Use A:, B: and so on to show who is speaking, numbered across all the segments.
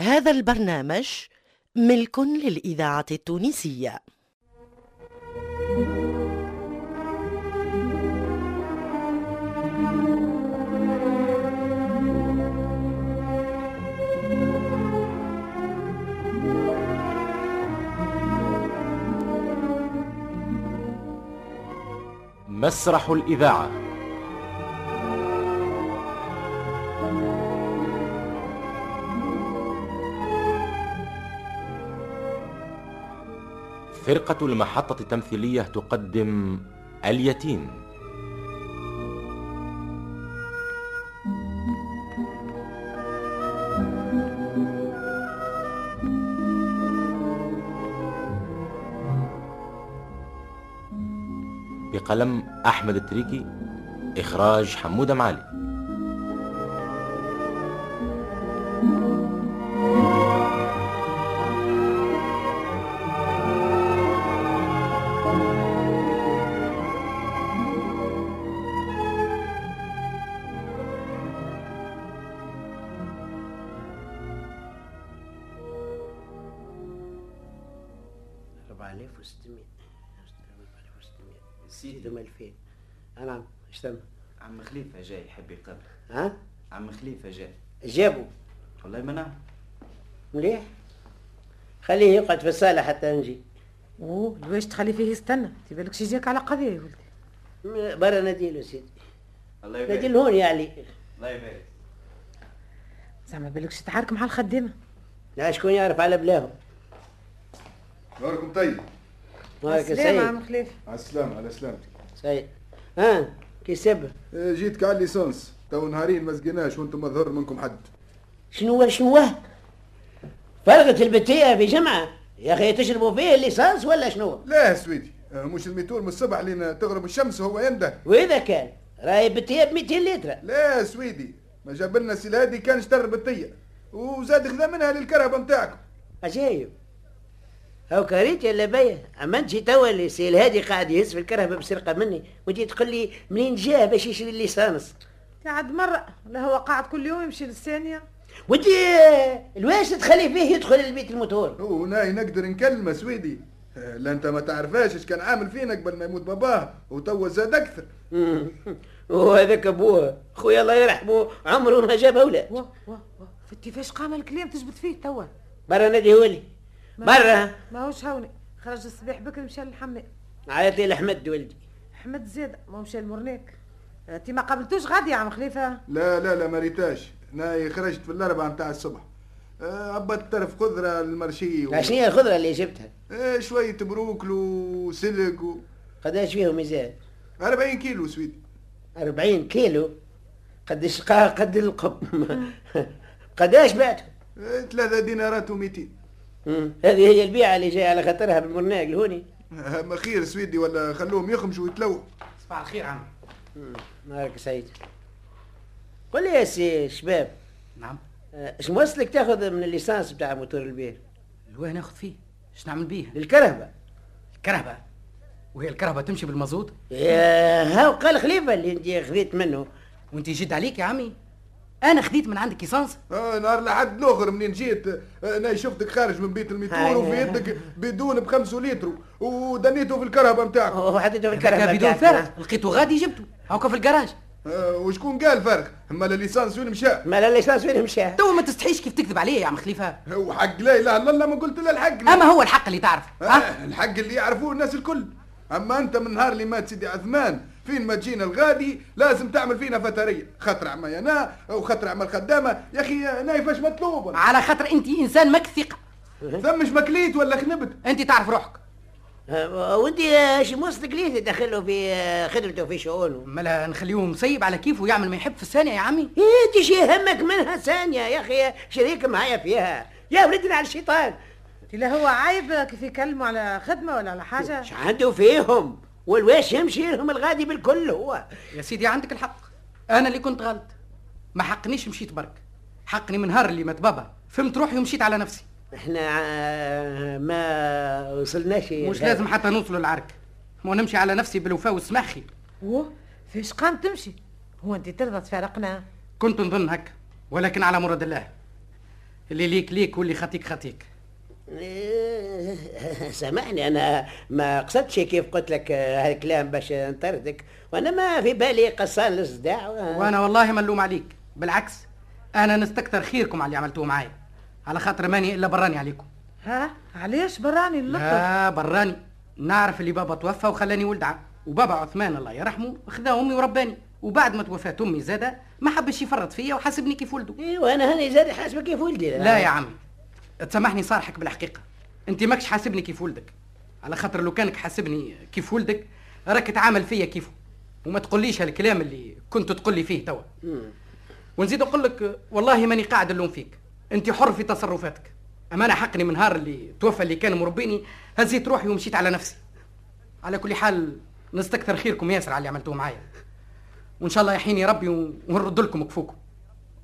A: هذا البرنامج ملك للإذاعة التونسية
B: مسرح الإذاعة فرقة المحطة التمثيلية تقدم اليتيم بقلم أحمد التريكي إخراج حمودة معالي
C: أربعة آلاف وستمية أربعة آلاف وستمية سيدهم ألفين آه، أنا اش تم
D: عم خليفة جاي يحب يقابل
C: ها
D: عم خليفة جاي
C: جابوا
D: والله ما نعم. نعرف
C: مليح خليه يقعد في الصالة حتى نجي
E: اوه لواش تخلي فيه يستنى تبالك شي جاك على قضيه يا ولدي
C: م- برا نديله سيدي
D: الله
C: نديله هون يا علي
D: الله يبارك
E: زعما بالكش تعارك مع الخدامه
C: لا شكون يعرف على بلاهم
F: نهاركم طيب
C: مبارك
E: السلام عم
C: سيد
E: خليفه
F: على السلامة على سلامتك
C: سيد ها كي سب
F: آه، جيتك على الليسونس تو نهارين ما زقيناش وانتم ما ظهر منكم حد
C: شنو هو- شنو هو؟ فرقت البتية في جمعة يا أخي تشربوا فيه الليسانس ولا شنو
F: لا يا سويدي آه، مش الميتور من الصبح لين تغرب الشمس هو ينده
C: وإذا كان راهي بتية ب 200 لتر
F: لا يا سويدي ما جاب لنا سلادي كان شتر بطية وزاد خذا منها للكرهبة متاعكم
C: عجايب هاو كريت يا لبيه اما انت توا اللي سي الهادي قاعد يهز في الكرهبه بسرقه مني وانت تقول لي منين جاه باش يشري الليسانس
E: قاعد مره لا هو قاعد كل يوم يمشي للثانيه
C: وانت آه، الواش تخلي فيه يدخل البيت الموتور
F: وناي نقدر نكلمه سويدي آه، لا انت ما تعرفاش اش كان عامل فينا قبل ما يموت باباه وتوا زاد اكثر
C: وهذاك ابوه خويا الله يرحمه عمره ما جاب اولاد
E: واه واه واه فتي فاش قام الكلام تجبد فيه توا
C: برا نادي هولي برا
E: ماهوش هوني خرج الصباح بكري مشى للحمام
C: عيط لي لحمد ولدي
E: حمد زاد ما مشى لمرناك انت ما قابلتوش غادي يا عم خليفه
F: لا لا لا ما ريتاش ناي خرجت في الاربعة متاع الصبح آه، عبت طرف خضرة المرشي و...
C: شنو هي الخضره اللي جبتها
F: آه، شوية بروكلي وسلق و...
C: قداش فيهم ميزان
F: 40 كيلو سويدي
C: 40 كيلو قد الشقاق قد القب قداش بعتهم
F: آه، ثلاثة دينارات و200
C: مم. هذه هي البيعة اللي جاي على خاطرها بالمرناق الهوني
F: آه، ما خير سويدي ولا خلوهم يخمشوا ويتلووا
D: صباح الخير عم
C: نهارك سعيد قل لي يا سي شباب
G: نعم
C: آه، اش موصلك تاخذ من الليسانس بتاع موتور البير
G: الواه ناخذ فيه اش نعمل بيه
C: للكرهبة
G: الكرهبه وهي الكرهبه تمشي بالمازوت
C: يا إيه، هاو قال خليفة اللي انت خذيت منه
G: وانت جد عليك يا عمي انا خديت من عندك ليسانس
F: آه نهار لحد الاخر منين جيت آه، انا شفتك خارج من بيت
C: هاي.
F: الميتور وفي يدك بدون بخمسة لتر ودنيته في الكرهبه نتاعك
C: وحطيته في الكرهبة
G: الكرهبه بدون
C: بتاعتنا.
G: فارغ لقيته غادي جبته هاكا في الكراج
F: آه وشكون قال فرق اما لا ليسانس وين مشى
C: ما لا الليسانس وين مشى
G: تو ما تستحيش كيف تكذب عليا يا عم خليفه
F: وحق لا اله الا الله ما قلت الا الحق
G: اما هو الحق اللي تعرف ها
F: آه الحق اللي يعرفوه الناس الكل اما انت من نهار اللي مات سيدي عثمان فين ما تجينا الغادي لازم تعمل فينا فتريه خطر عما انا وخطر عما الخدامه يا اخي آه، نايفاش مطلوبه
G: على خاطر انت انسان ماك ثقه
F: ثمش مكليت ولا خنبت
G: انت تعرف روحك
C: آه، وانت آه، اش موصلك ليه تدخله في آه، خدمته وفي شؤونه
G: ملا نخليه مسيب على كيفه ويعمل ما يحب في الثانيه يا عمي
C: إيه، انت شي همك منها ثانية يا اخي شريك معايا فيها يا ولدنا على الشيطان
E: انت لا هو عايب كيف يكلموا على خدمه ولا على حاجه
C: اش عنده فيهم والواش يمشي لهم الغادي بالكل هو
G: يا سيدي عندك الحق انا اللي كنت غلط ما حقنيش مشيت برك حقني من نهار اللي مات بابا فهمت روحي ومشيت على نفسي
C: احنا ع- آه، ما وصلناش
G: مش لازم حتى نوصلوا للعرك ونمشي على نفسي بالوفاء والسماح خير
E: واه فاش قام تمشي هو انت ترضى تفارقنا
G: كنت نظن هكا ولكن على مراد الله اللي ليك ليك واللي خطيك خطيك
C: إيه، سامحني انا ما قصدتش كيف قلت لك آه، هالكلام باش نطردك وانا ما في بالي قصان للصداع و-
G: وانا والله ملوم عليك بالعكس انا نستكثر خيركم على اللي عملتوه معايا على خاطر ماني الا براني عليكم
E: ها علاش براني اللطف
G: لا براني نعرف اللي بابا توفى وخلاني ولد عم وبابا عثمان الله يرحمه خذا امي ورباني وبعد ما توفات امي زاده ما حبش يفرط فيا وحاسبني كيف ولده
C: إيه، وانا هاني زاد حاسبك كيف ولدي
G: لا يا عمي تسامحني صارحك بالحقيقه انت ماكش حاسبني كيف ولدك على خاطر لو كانك حاسبني كيف ولدك راك تعامل فيا كيفه وما تقوليش هالكلام اللي كنت تقول لي فيه توا ونزيد نقول لك والله ماني قاعد نلوم فيك انت حر في تصرفاتك اما انا حقني من نهار اللي توفى اللي كان مربيني هزيت روحي ومشيت على نفسي على كل حال نستكثر خيركم ياسر على اللي عملتوه معايا وان شاء الله يحيني ربي ونرد لكم كفوكم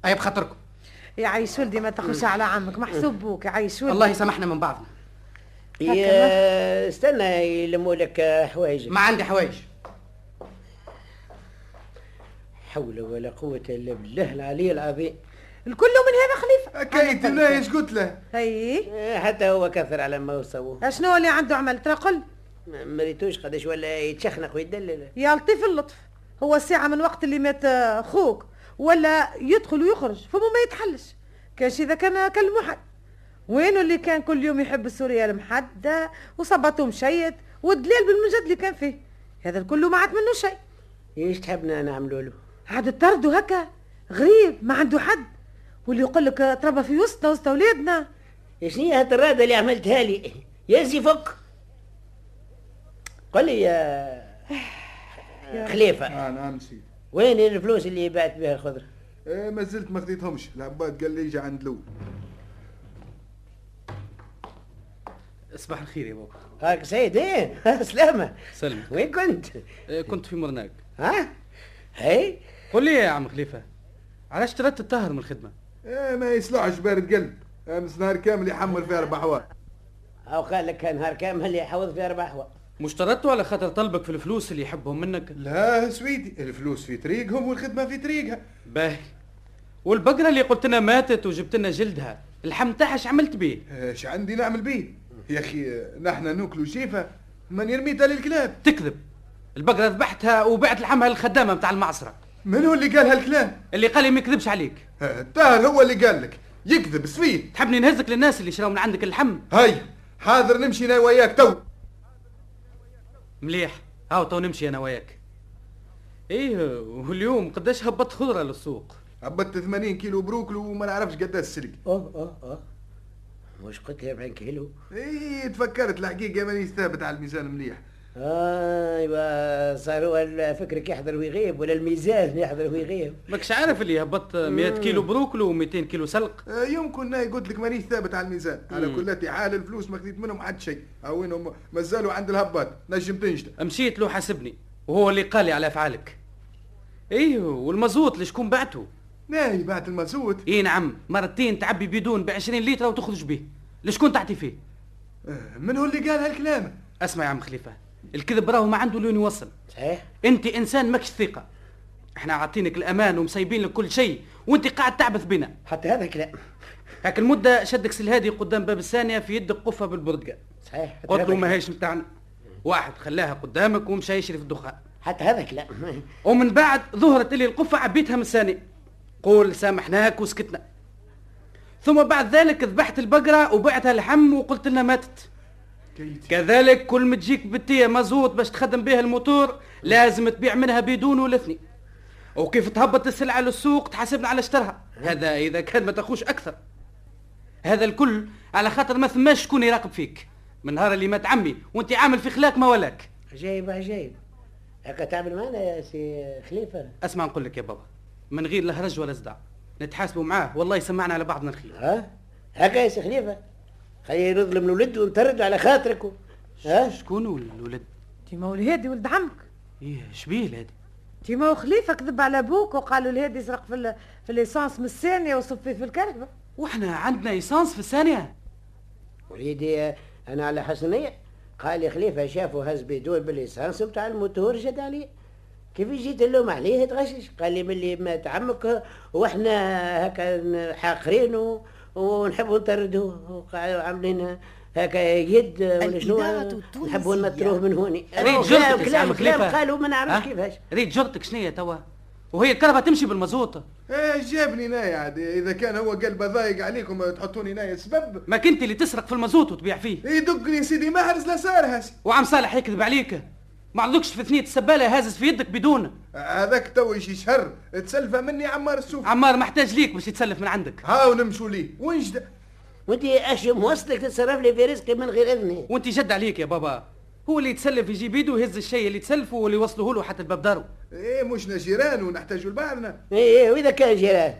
G: اي بخاطركم
E: يعيش ولدي ما تخش على عمك محسوب بوك يعيش ولدي
G: الله يسامحنا من بعضنا
C: يا استنى يلموا لك آه، حوايجك
G: ما عندي حوايج
C: حول ولا قوة إلا بالله العلي العظيم
E: الكل من هذا خليفه
F: حكايتي انا ايش قلت له
E: هي
C: آه، حتى هو كثر على ما وصوه
E: شنو اللي عنده عمل ترى قل
C: ما ما ريتوش قداش ولا يتشخنق ويدلل
E: يا لطيف اللطف هو الساعة من وقت اللي مات آه، خوك ولا يدخل ويخرج فمو ما يتحلش كاش إذا كان كالمحل وينو اللي كان كل يوم يحب السورية المحدة وصبته مشيت والدليل بالمجد اللي كان فيه هذا الكل ما عاد منه شيء
C: ايش تحبنا نعملوا له
E: عاد طردوا هكا غريب ما عنده حد واللي يقول لك آه، تربى في وسطنا وسط اولادنا
C: شنو هي الرادة اللي عملتها لي يزي فك قل لي يا خليفة
F: اه نعم سيدي
C: وين الفلوس اللي بعت بها الخضرة
F: إيه ما زلت ما خديتهمش العباد قال لي يجي عند الاول
G: صباح الخير يا بابا
C: هاك سيد ايه سلامة
G: سلم
C: وين كنت
G: آه، كنت في مرناك
C: ها هي
G: قول لي يا عم خليفه علاش تردت تطهر من الخدمه
F: إيه ما يصلحش بارد قلب امس نهار كامل يحمل في اربع حوار
C: او قال لك نهار كامل يحوض في اربع حوا
G: مش طردته على خاطر طلبك في الفلوس اللي يحبهم منك
F: لا سويدي الفلوس في طريقهم والخدمه في طريقها
G: باهي والبقره اللي قلت لنا ماتت وجبت لنا جلدها اللحم تاعها اش عملت بيه
F: اش عندي نعمل بيه يا اخي آه، نحن ناكلوا جيفه ما نرميتها للكلاب
G: تكذب البقره ذبحتها وبعت لحمها للخدامه نتاع المعصره
F: من هو اللي قال هالكلام
G: اللي قال لي ما يكذبش عليك
F: آه، الطاهر هو اللي قال لك يكذب سويد
G: تحبني نهزك للناس اللي شراو من عندك اللحم
F: هاي حاضر نمشي انا وياك تو
G: مليح هاو تو نمشي انا وياك ايه واليوم قداش هبط خضره للسوق
F: هبطت 80 كيلو بروكلي وما نعرفش قداش سلق
C: اوه اوه اوه واش قلت 40 كيلو
F: اي إيه، تفكرت الحقيقه مانيش ثابت على الميزان مليح
C: اه يبقى صار هو فكرك يحضر ويغيب ولا الميزان يحضر ويغيب
G: ماكش عارف اللي هبط 100 كيلو بروكلو و200 كيلو سلق
F: آه، يمكن انا قلت لك مانيش ثابت على الميزان على كل حال الفلوس ما خديت منهم عاد شيء او انهم مازالوا عند الهباط نجم تنجد
G: مشيت له حاسبني وهو اللي قال لي على افعالك ايه والمازوت لشكون بعته
F: ناي بعت المازوت
G: اي نعم مرتين تعبي بدون ب 20 لتر وتخرج به لشكون تعطي فيه
F: آه، من هو اللي قال هالكلام
G: اسمع يا عم خليفه الكذب راهو ما عنده لون يوصل
C: صحيح
G: انت انسان ماكش ثقه احنا عاطينك الامان ومسيبين لك كل شيء وانت قاعد تعبث بنا
C: حتى هذا كلام
G: هاك المده شدك سلهادي قدام باب الثانيه في يدك قفه بالبردقه
C: صحيح حتى
G: قلت
H: يعني.
C: هذا
G: له ما
C: كلام.
G: هيش متاعنا واحد خلاها قدامك ومشى يشري في الدخان
C: حتى هذا كلام
G: ومن بعد ظهرت لي القفة عبيتها من الثاني قول سامحناك وسكتنا ثم بعد ذلك ذبحت البقرة وبعتها لحم وقلت لنا ماتت
F: كيت
G: كذلك كل ما تجيك بتية مازوت باش تخدم بها الموتور لازم تبيع منها بدون ولثني وكيف تهبط السلعة للسوق تحاسبنا على اشترها هذا إذا كان ما تاخوش أكثر هذا الكل على خاطر ما ثماش شكون يراقب فيك من نهار اللي مات عمي وانت عامل في خلاك ما ولاك
C: عجيب عجيب هكا تعمل معنا يا سي خليفه
G: اسمع نقول لك يا بابا من غير لا هرج ولا صداع نتحاسبوا معاه والله يسمعنا على بعضنا الخير
C: ها هكا يا سي خليفه خليه نظلم الولد ونطرد على خاطركم ها
G: شكون الولد
E: تيما والهادي ولد عمك
G: ايه شبيه الهادي
E: تيما وخليفه كذب على بوك وقالوا الهادي يسرق في ال- في ليسانس من الثانيه وصفيه في الكركبه
G: واحنا عندنا ايسانس في الثانيه
C: وليدي انا على حسن نيه قال لي خليفه شافوا هز بدون بالليسانس بتاع الموتور جد عليه كيف جيت اللوم عليه تغشش قال لي ملي مات عمك واحنا هكا حاقرينه ونحبوا نطردوه وقعدوا عاملين هكا يد ولا شنو
A: الإذاعة التونسية.
C: نحبوا نطروه من هوني
G: ريت
C: كلام
G: جرتك
C: كلام كلام قالوا ما نعرفش كيفاش
G: ريت جرتك شنية توا وهي الكرهبة تمشي بالمزوطة
F: ايه جابني نايا عاد اذا كان هو قلب ضايق عليكم تحطوني نايا سبب
G: ما كنت اللي تسرق في المزوط وتبيع فيه
F: يدقني سيدي مهرز لسارها
G: وعم صالح يكذب عليك ما عندكش في ثنية السبالة هازز في يدك بدونه
F: هذاك تو شي شهر تسلفه مني عمار السوف
G: عمار محتاج ليك باش يتسلف من عندك
F: هاو نمشوا ليه ونجد
C: وانت اشم وصلك تتصرف لي في رزقي من غير اذني
G: وانت جد عليك يا بابا هو اللي يتسلف يجيب يده ويهز الشيء اللي تسلفه واللي يوصله له حتى الباب داره
F: ايه مشنا جيران ونحتاجوا لبعضنا
C: ايه إيه، واذا كان جيران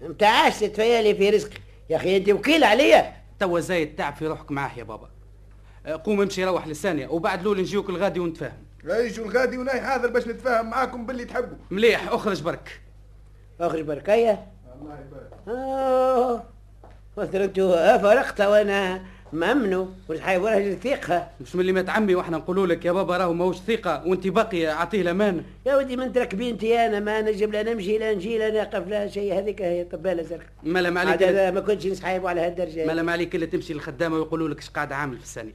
C: متعاش تتفيالي في رزقي يا اخي انت وكيل عليا
G: توا زايد تعب في روحك معاه يا بابا آه، قوم امشي روح للثانية وبعد لول نجيوك الغادي ونتفاهم
F: ايجوا الغادي وناي حاضر باش نتفاهم معاكم باللي تحبوا
G: مليح اخرج برك
C: اخرج بركيه
F: الله يبارك
C: آه، وثرته فرقت وانا ممنو والحيوان راجل ثقه
G: مش من اللي مات عمي واحنا نقولوا لك يا بابا راهو ماهوش ثقة وانت باقي اعطيه الامانة
C: يا ودي من ترك بنتي انا ما نجم لا نمشي لا نجي لا نقف لا شيء هذيك هي طبالة زرق
G: ما لم عليك
C: عاد
G: إلا-
C: أنا ما كنتش نسحب على هالدرجه
G: ما لم عليك الا تمشي للخدامة ويقولوا لك اش قاعد عامل في الثانية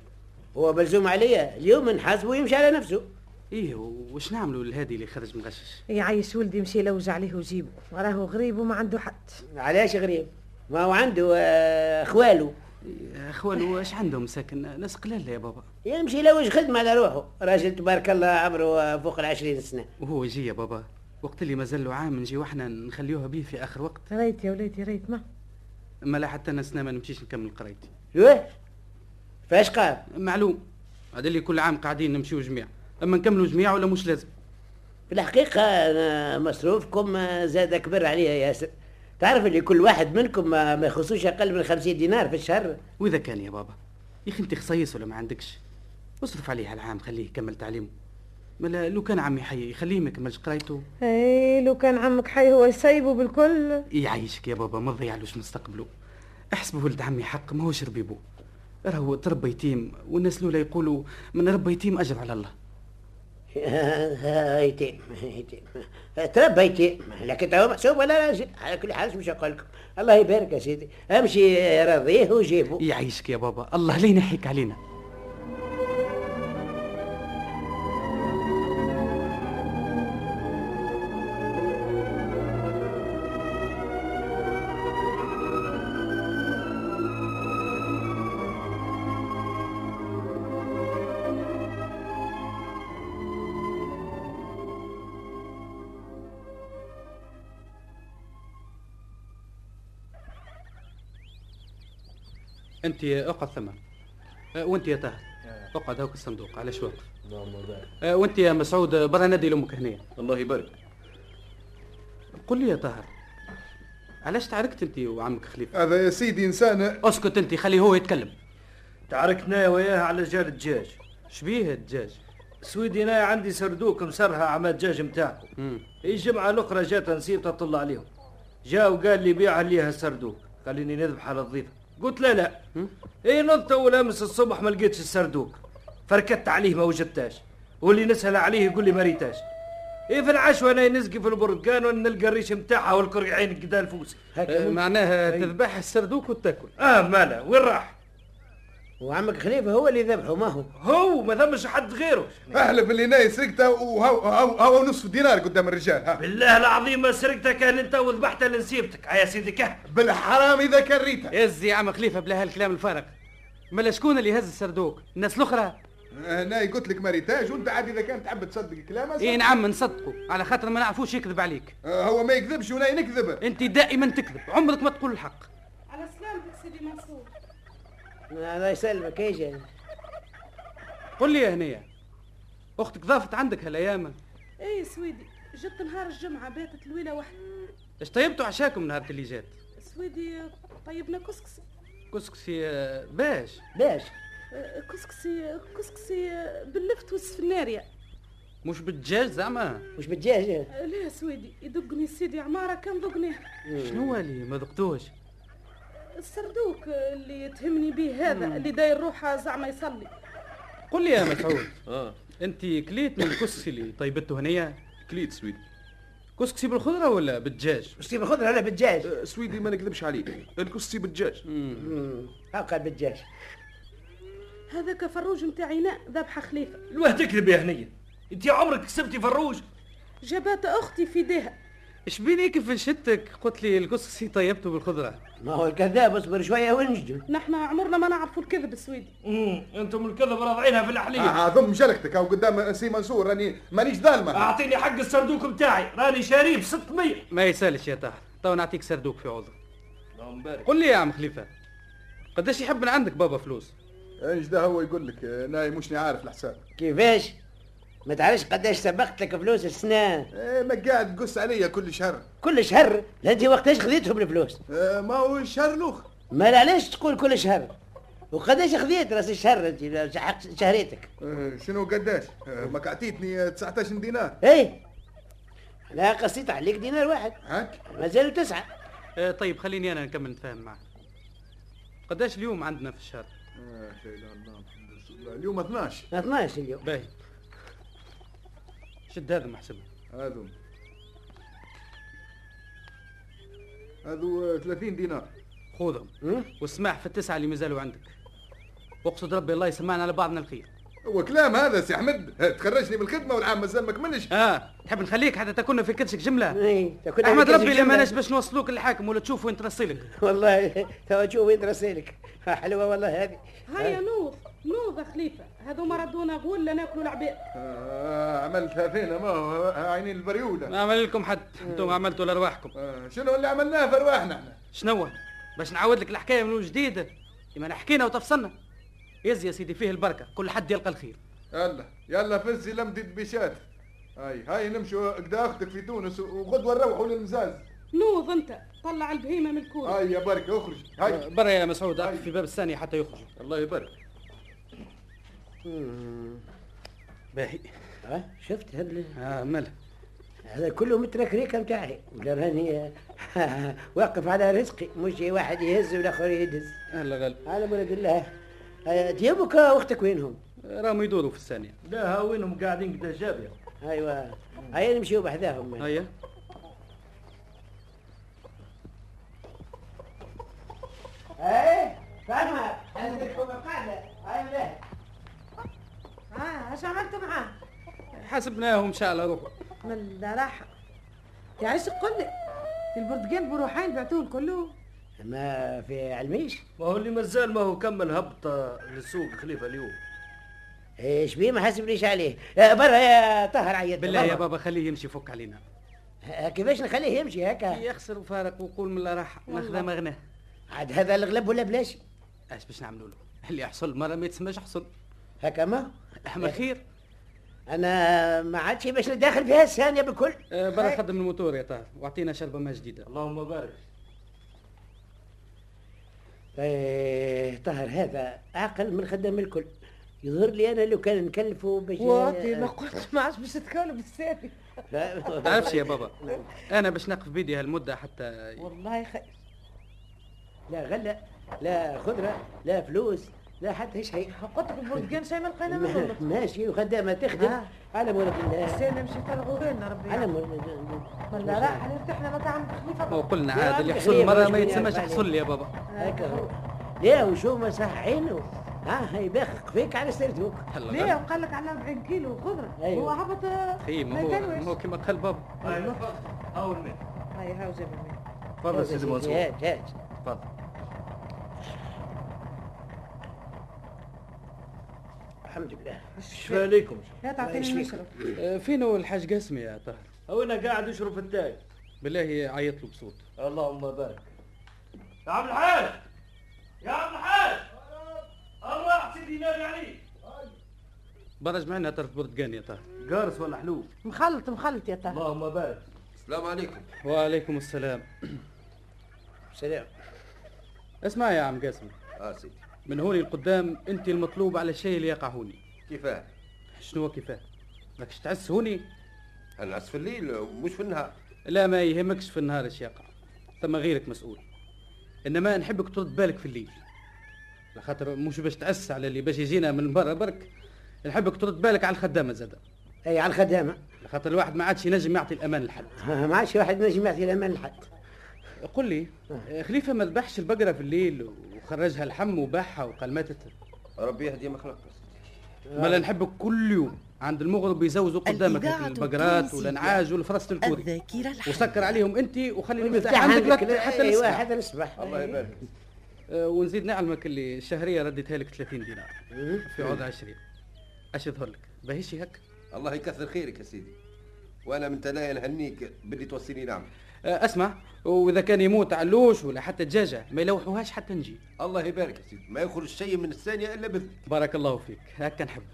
C: هو ملزوم عليا اليوم نحاسبه ويمشي على نفسه
G: ايه وش نعملوا للهادي اللي خرج مغشش
E: يعيش ولدي مشي لوج عليه وجيبه راهو غريب وما عنده حد
C: علاش غريب ما هو عنده آه، اخواله
G: اخوانه اش عندهم ساكن ناس قلالة يا بابا
C: يمشي يلوج خدمه على روحه راجل تبارك الله عمره آه، فوق العشرين سنه
G: وهو يجي يا بابا وقت اللي مازال له عام نجي واحنا نخليوها بيه في اخر وقت
E: ريت يا وليدي ريت ما
G: ما لا حتى انا سنة ما نمشيش نكمل قرايتي
C: شوه فاش قال
G: معلوم هذا اللي كل عام قاعدين نمشيو جميع اما نكملوا جميع ولا مش لازم
C: في الحقيقة أنا مصروفكم زاد كبر عليا ياسر تعرف اللي كل واحد منكم ما ما يخصوش أقل من خمسين دينار في الشهر
G: واذا كان يا بابا يا اخي انت خصيص ولا ما عندكش اصرف عليه العام خليه يكمل تعليمه ما لا- لو كان عمي حي يخليه ما يكملش قرايته
E: اي إيه، لو كان عمك حي هو يسيبه بالكل
G: يعيشك يا بابا ما تضيعلوش مستقبله احسب ولد عمي حق ماهوش ربيبو راهو تربى يتيم والناس لولا يقولوا من ربى يتيم اجر على الله
C: يتيم يتيم تربى يتيم لكن تو محسوب ولا راجل على كل حال مش أقول لكم الله يبارك يا سيدي أمشي راضيه وجيبه
G: يعيشك يا بابا الله لا ينحيك علينا انت اقعد ثم أه، وانت يا طاهر اقعد هاك الصندوق على شواق أه، وانت يا مسعود أه، برا نادي لامك هنا
B: الله يبارك
G: قل لي يا طاهر علاش تعاركت انت وعمك خليفه
F: هذا يا سيدي انسان
G: اسكت انت خليه هو يتكلم
I: تعاركنا وياه على جال الدجاج
G: شبيه الدجاج
I: سويدي انا عندي سردوك مسرها عما الدجاج نتاعكم
G: مم.
I: الجمعة الأخرى جات نسيت أطل عليهم جا وقال لي بيع لي هالسردوك خليني نذبح على الضيفة قلت لا لا اي نضت أول أمس الصبح ما لقيتش السردوك فركدت عليه ما وجدتاش واللي نسأل عليه يقول لي ما ريتاش اي في العشوة أنا نسقي في البركان ونلقى الريش نتاعها والكرعين قدال فوسي
G: أه،
C: هكا
I: إيه.
G: معناها تذبح السردوك وتاكل
I: اه مالا وين راح
C: وعمك خليفة هو اللي ذبحه ما هو
I: هو ما ثمش حد غيره
F: احلف اللي ناي سرقته وهو هو هو نصف دينار قدام الرجال ها
I: بالله العظيم ما سرقتها كان انت وذبحتها لنسيبتك يا سيدي كه
F: بالحرام اذا كان ريته
G: يزي يا عم خليفه بلا هالكلام الفارغ ملا شكون اللي هز السردوك الناس الاخرى
F: آه، ناي قلت لك ما ريتاش وانت عاد اذا كان تحب تصدق كلامه
G: اي نعم نصدقوا على خاطر ما نعرفوش يكذب عليك
F: آه، هو ما يكذبش وناي نكذبه
G: انت دائما تكذب عمرك ما تقول الحق
J: على سلامتك سيدي منصور
C: الله يسلمك يعني؟ يا جاني
G: قل لي يا هنيه اختك ضافت عندك هالايام
J: اي إيه سويدي جبت نهار الجمعة باتت لويلة واحدة
G: اش طيبتوا عشاكم نهار اللي جات
J: سويدي طيبنا كسكسي
G: كسكسي آه، باش
C: باش
J: آه، كسكسي كسكسي آه، باللفت والسفناريا
G: مش بالدجاج زعما
C: مش بالدجاج
J: آه، لا سويدي يدقني سيدي عمارة كان ذقناه
G: شنو اللي ما ذقتوش
J: السردوك آه، اللي تهمني به هذا اللي داير روحه زعما يصلي
G: قل لي يا
K: آه.
G: مسعود انت كليت من الكسكسي اللي طيبته هنيه
B: كليت سويدي
K: كسكسي بالخضره ولا بالدجاج
C: باش تجيب الخضره ولا بالدجاج
K: أه، سويدي ما نكذبش عليك الكسكسي بالدجاج
C: هاكا بالدجاج
J: هذاك فروج متاع عيناء ذبح خليفه
I: الواه تكذب يا هنيه انت عمرك كسبتي فروج
J: جابت اختي في ديها
K: اش بيني كيف شتك قلت لي الكسكسي طيبته بالخضره
C: ما هو الكذاب اصبر شويه ونجدو
J: نحن عمرنا ما نعرفوا الكذب السويدي
I: امم انتم الكذب راضعينها في
F: آه،
I: الاحليه
F: آه ضم شركتك او قدام سي منصور راني مانيش ظالمه
I: اعطيني حق السردوك متاعي راني شاريه ب 600
G: ما يسالش يا طاهر تو نعطيك سردوك في عوضك قل لي يا عم خليفه قداش يحب من عندك بابا فلوس
F: ايش ده هو يقول لك آه، انا مش عارف الحساب
C: كيفاش ما تعرفش قداش سبقت لك فلوس السنه
F: آه، ما قاعد تقص عليا كل شهر
C: كل شهر لا انت وقتاش خذيتهم الفلوس
F: آه، ما هو الشهر الاخر
C: ما لا علاش تقول كل شهر وقداش خذيت راس الشهر انت لا شحقت شهريتك
F: آه، شنو قداش آه، ما قعتيتني آه، 19 دينار
C: اي إيه. لا قصيت عليك دينار واحد
F: هاك
C: مازالوا تسعه
G: آه طيب خليني انا نكمل نتفاهم معك قداش اليوم عندنا في الشهر
F: آه، لا إله إلا الله، محمد رسول الله. اليوم 12
C: 12 اليوم
G: باهي شد هذا محسبه
F: هذو هذو آه، 30 دينار
G: خذهم واسمع في التسعه اللي مازالوا عندك واقصد ربي الله يسمعنا على بعضنا الخير
F: هو كلام هذا سي احمد آه، تخرجني من الخدمه والعام مازال ما كملش
G: اه تحب نخليك حتى تكون في كرشك جمله
C: اي تاكل
G: احمد
C: عليك
G: ربي
C: الجملة.
G: لما ناش باش نوصلوك للحاكم ولا تشوف وين ترسلك
C: والله توا شوف وين رسالك حلوه والله هذه
J: هيا نوض نوض يا خليفه هذوما ردونا غول لا ناكلوا العباد
F: آه، عملتها فينا ما هو آه، عينين البريوله
G: ما عمل لكم حد انتم عملتوا لارواحكم
F: آه، شنو اللي عملناه في ارواحنا احنا
G: شنو باش نعاود لك الحكايه من جديد لما نحكينا وتفصلنا يز يا سيدي فيه البركه كل حد يلقى الخير
F: يلا يلا فزي لمدي دبيشات هاي هاي نمشوا قدا اختك في تونس وغدوه نروحوا للمزاز
J: نوض انت طلع البهيمه من الكوره
F: هاي يا بركه اخرج
G: آه،
F: هاي
G: برا يا مسعود اقف في الباب الثاني حتى يخرجوا
F: الله يبارك
G: باهي
C: آه، شفت هذا
G: آه ماله
C: هذا كله متركريكه متاعي ولا راني آه، واقف على رزقي مش واحد يهز والاخر يدز
G: هلا غالب
C: على بركه الله آه، ديابك واختك وينهم
G: راهم يدوروا في الثانيه
I: لا ها وينهم قاعدين قدا جابيه
C: ايوا هيا نمشيو بحذاهم
G: هيا
C: اي فاهمه انت تحكم القاعده هاي ملاه
E: اه اش عملت معاه
G: حاسبناهم شاء الله روحوا
E: من راحة تعيش قل لي البرتقال بروحين بعتوه الكلو
C: ما في علميش
I: ما هو اللي مازال ما هو كمل هبط للسوق خليفه اليوم
C: ايش بيه ما حسبنيش عليه آه، برا يا طاهر عيط
G: بالله يا بابا خليه يمشي فك علينا
C: آه، كيفاش نخليه يمشي هكا
G: يخسر وفارق وقول من لا راح ناخذها ما غناه
C: عاد هذا الغلب ولا بلاش
G: اش باش نعملوا له اللي يحصل مره ما يتسماش حصل
C: هكا ما
G: احمد خير
C: انا ما عادش باش نداخل فيها الثانيه بالكل
G: آه، برا خدم الموتور يا طاهر واعطينا شربه ما جديده
I: اللهم بارك
C: إيه، طاهر هذا اعقل من خدام الكل يظهر لي انا لو كان نكلفه باش إيه،
E: واطي ما قلت ما عادش باش تكون بالسالي
G: تعرفش يا بابا انا باش نقف بيدي هالمده حتى
E: والله خير
C: لا غله لا خضره لا فلوس لا حتى شيء
E: قلت لك البرتقال شيء ما لقينا منه
C: ماشي وخدامه تخدم
E: آه.
C: على مولد الله
E: السالي مشي طلعوا لنا ربي
C: على
E: يعاون.
C: مولد
E: من لا راحة ارتحنا مطعم خليفة
G: ما قلنا
C: يا
G: عاد اللي
C: عم
G: يحصل
C: خير،
G: مره
C: مش
G: ما
C: مني
G: يتسماش
C: أعرف
G: حصل لي يا بابا
C: آه، هكا هو لا وشو آه، مسح عينه ها يبخخ فيك على سيرتوك
G: هلا
E: ليه
G: غالب.
E: وقال لك على 40 كيلو خضرة
C: أيوة.
E: هو هبط
G: خي ما هو ما هو كيما قال بابا
I: هاي اول من
E: هاي هاو جاب الماء.
I: تفضل سيدي منصور
C: هات هات
I: تفضل
C: الحمد لله
I: شفا عليكم
E: لا تعطيني نشرب
G: آه، فين هو الحاج قاسم يا طاهر
I: هو انا قاعد يشرب التاي
G: بالله عيط له بصوت
I: اللهم بارك يا عم الحاج يا عم الحاج اربع سيدي نادي عليك
G: برج معنا طرف برتقان يا طاهر
I: قارس ولا حلوب
E: مخلط مخلط يا طه
I: اللهم بارك
F: السلام عليكم
G: وعليكم السلام
C: سلام
G: اسمع يا عم قاسم
F: اه سيدي
G: من هوني لقدام انت المطلوب على الشيء اللي يقع هوني
F: كيفاه
G: شنو هو كيفاه راكش تعس هوني
F: العس في الليل مش في النهار
G: لا ما يهمكش في النهار اش يقع ثم غيرك مسؤول انما نحبك ترد بالك في الليل على خاطر مش باش تعس على اللي باش يجينا من برا برك نحبك ترد بالك على الخدامه زاده
C: اي على الخدامه
G: خاطر الواحد ما عادش ينجم يعطي الامان لحد
C: ما عادش واحد نجم يعطي الامان لحد
G: قل لي خليفه ما ذبحش البقره في الليل وخرجها لحم وباعها وقال ماتت
I: ربي يهدي ما خلق
G: مالا نحب كل يوم عند المغرب يزوزوا قدامك
A: الإذاعة
G: البقرات
A: التونسية.
G: والانعاج والفرس الكوري
A: الذاكرة الحية
G: وسكر عليهم انت وخلي
C: المفتاح
G: المفتاح عندك لت-
C: حتى
G: ايوه، حتى
C: ايوا
G: نسمع.
C: أيوة، حتى نصبح الله يبارك
G: إيه. أه، ونزيد نعلمك اللي الشهريه رديتها لك 30 دينار في عوض 20 اش يظهر لك باهيش هك
H: الله يكثر خيرك يا سيدي وانا من تنايا نهنيك باللي توصيني نعم. نعمة
G: أه، اسمع واذا كان يموت علوش ولا حتى دجاجه ما يلوحوهاش حتى نجي
H: الله يبارك يا سيدي ما يخرج شيء من الثانية الا باذنك
G: بارك الله فيك هكا نحبك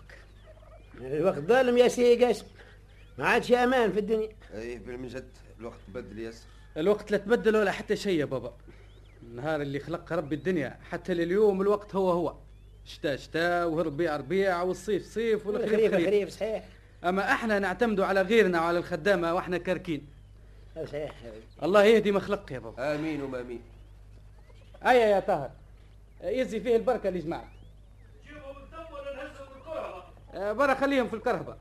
C: الوقت إيه، ظالم يا سي قاسم ما عادش امان في الدنيا
H: اي إيه، من جد الوقت بدل ياسر
G: الوقت لا تبدل ولا حتى شيء يا بابا النهار اللي خلق ربي الدنيا حتى لليوم الوقت هو هو شتاء شتاء وربيع ربيع والصيف صيف والخريف
C: الخريف
G: خريف
C: الخريف صحيح
G: اما احنا نعتمدوا على غيرنا وعلى الخدامه واحنا كاركين
C: صحيح
G: الله يهدي ما خلق يا بابا
H: امين وما امين
G: ايا يا طاهر يزي فيه البركه اللي جمعت آه، برا خليهم في الكرهبه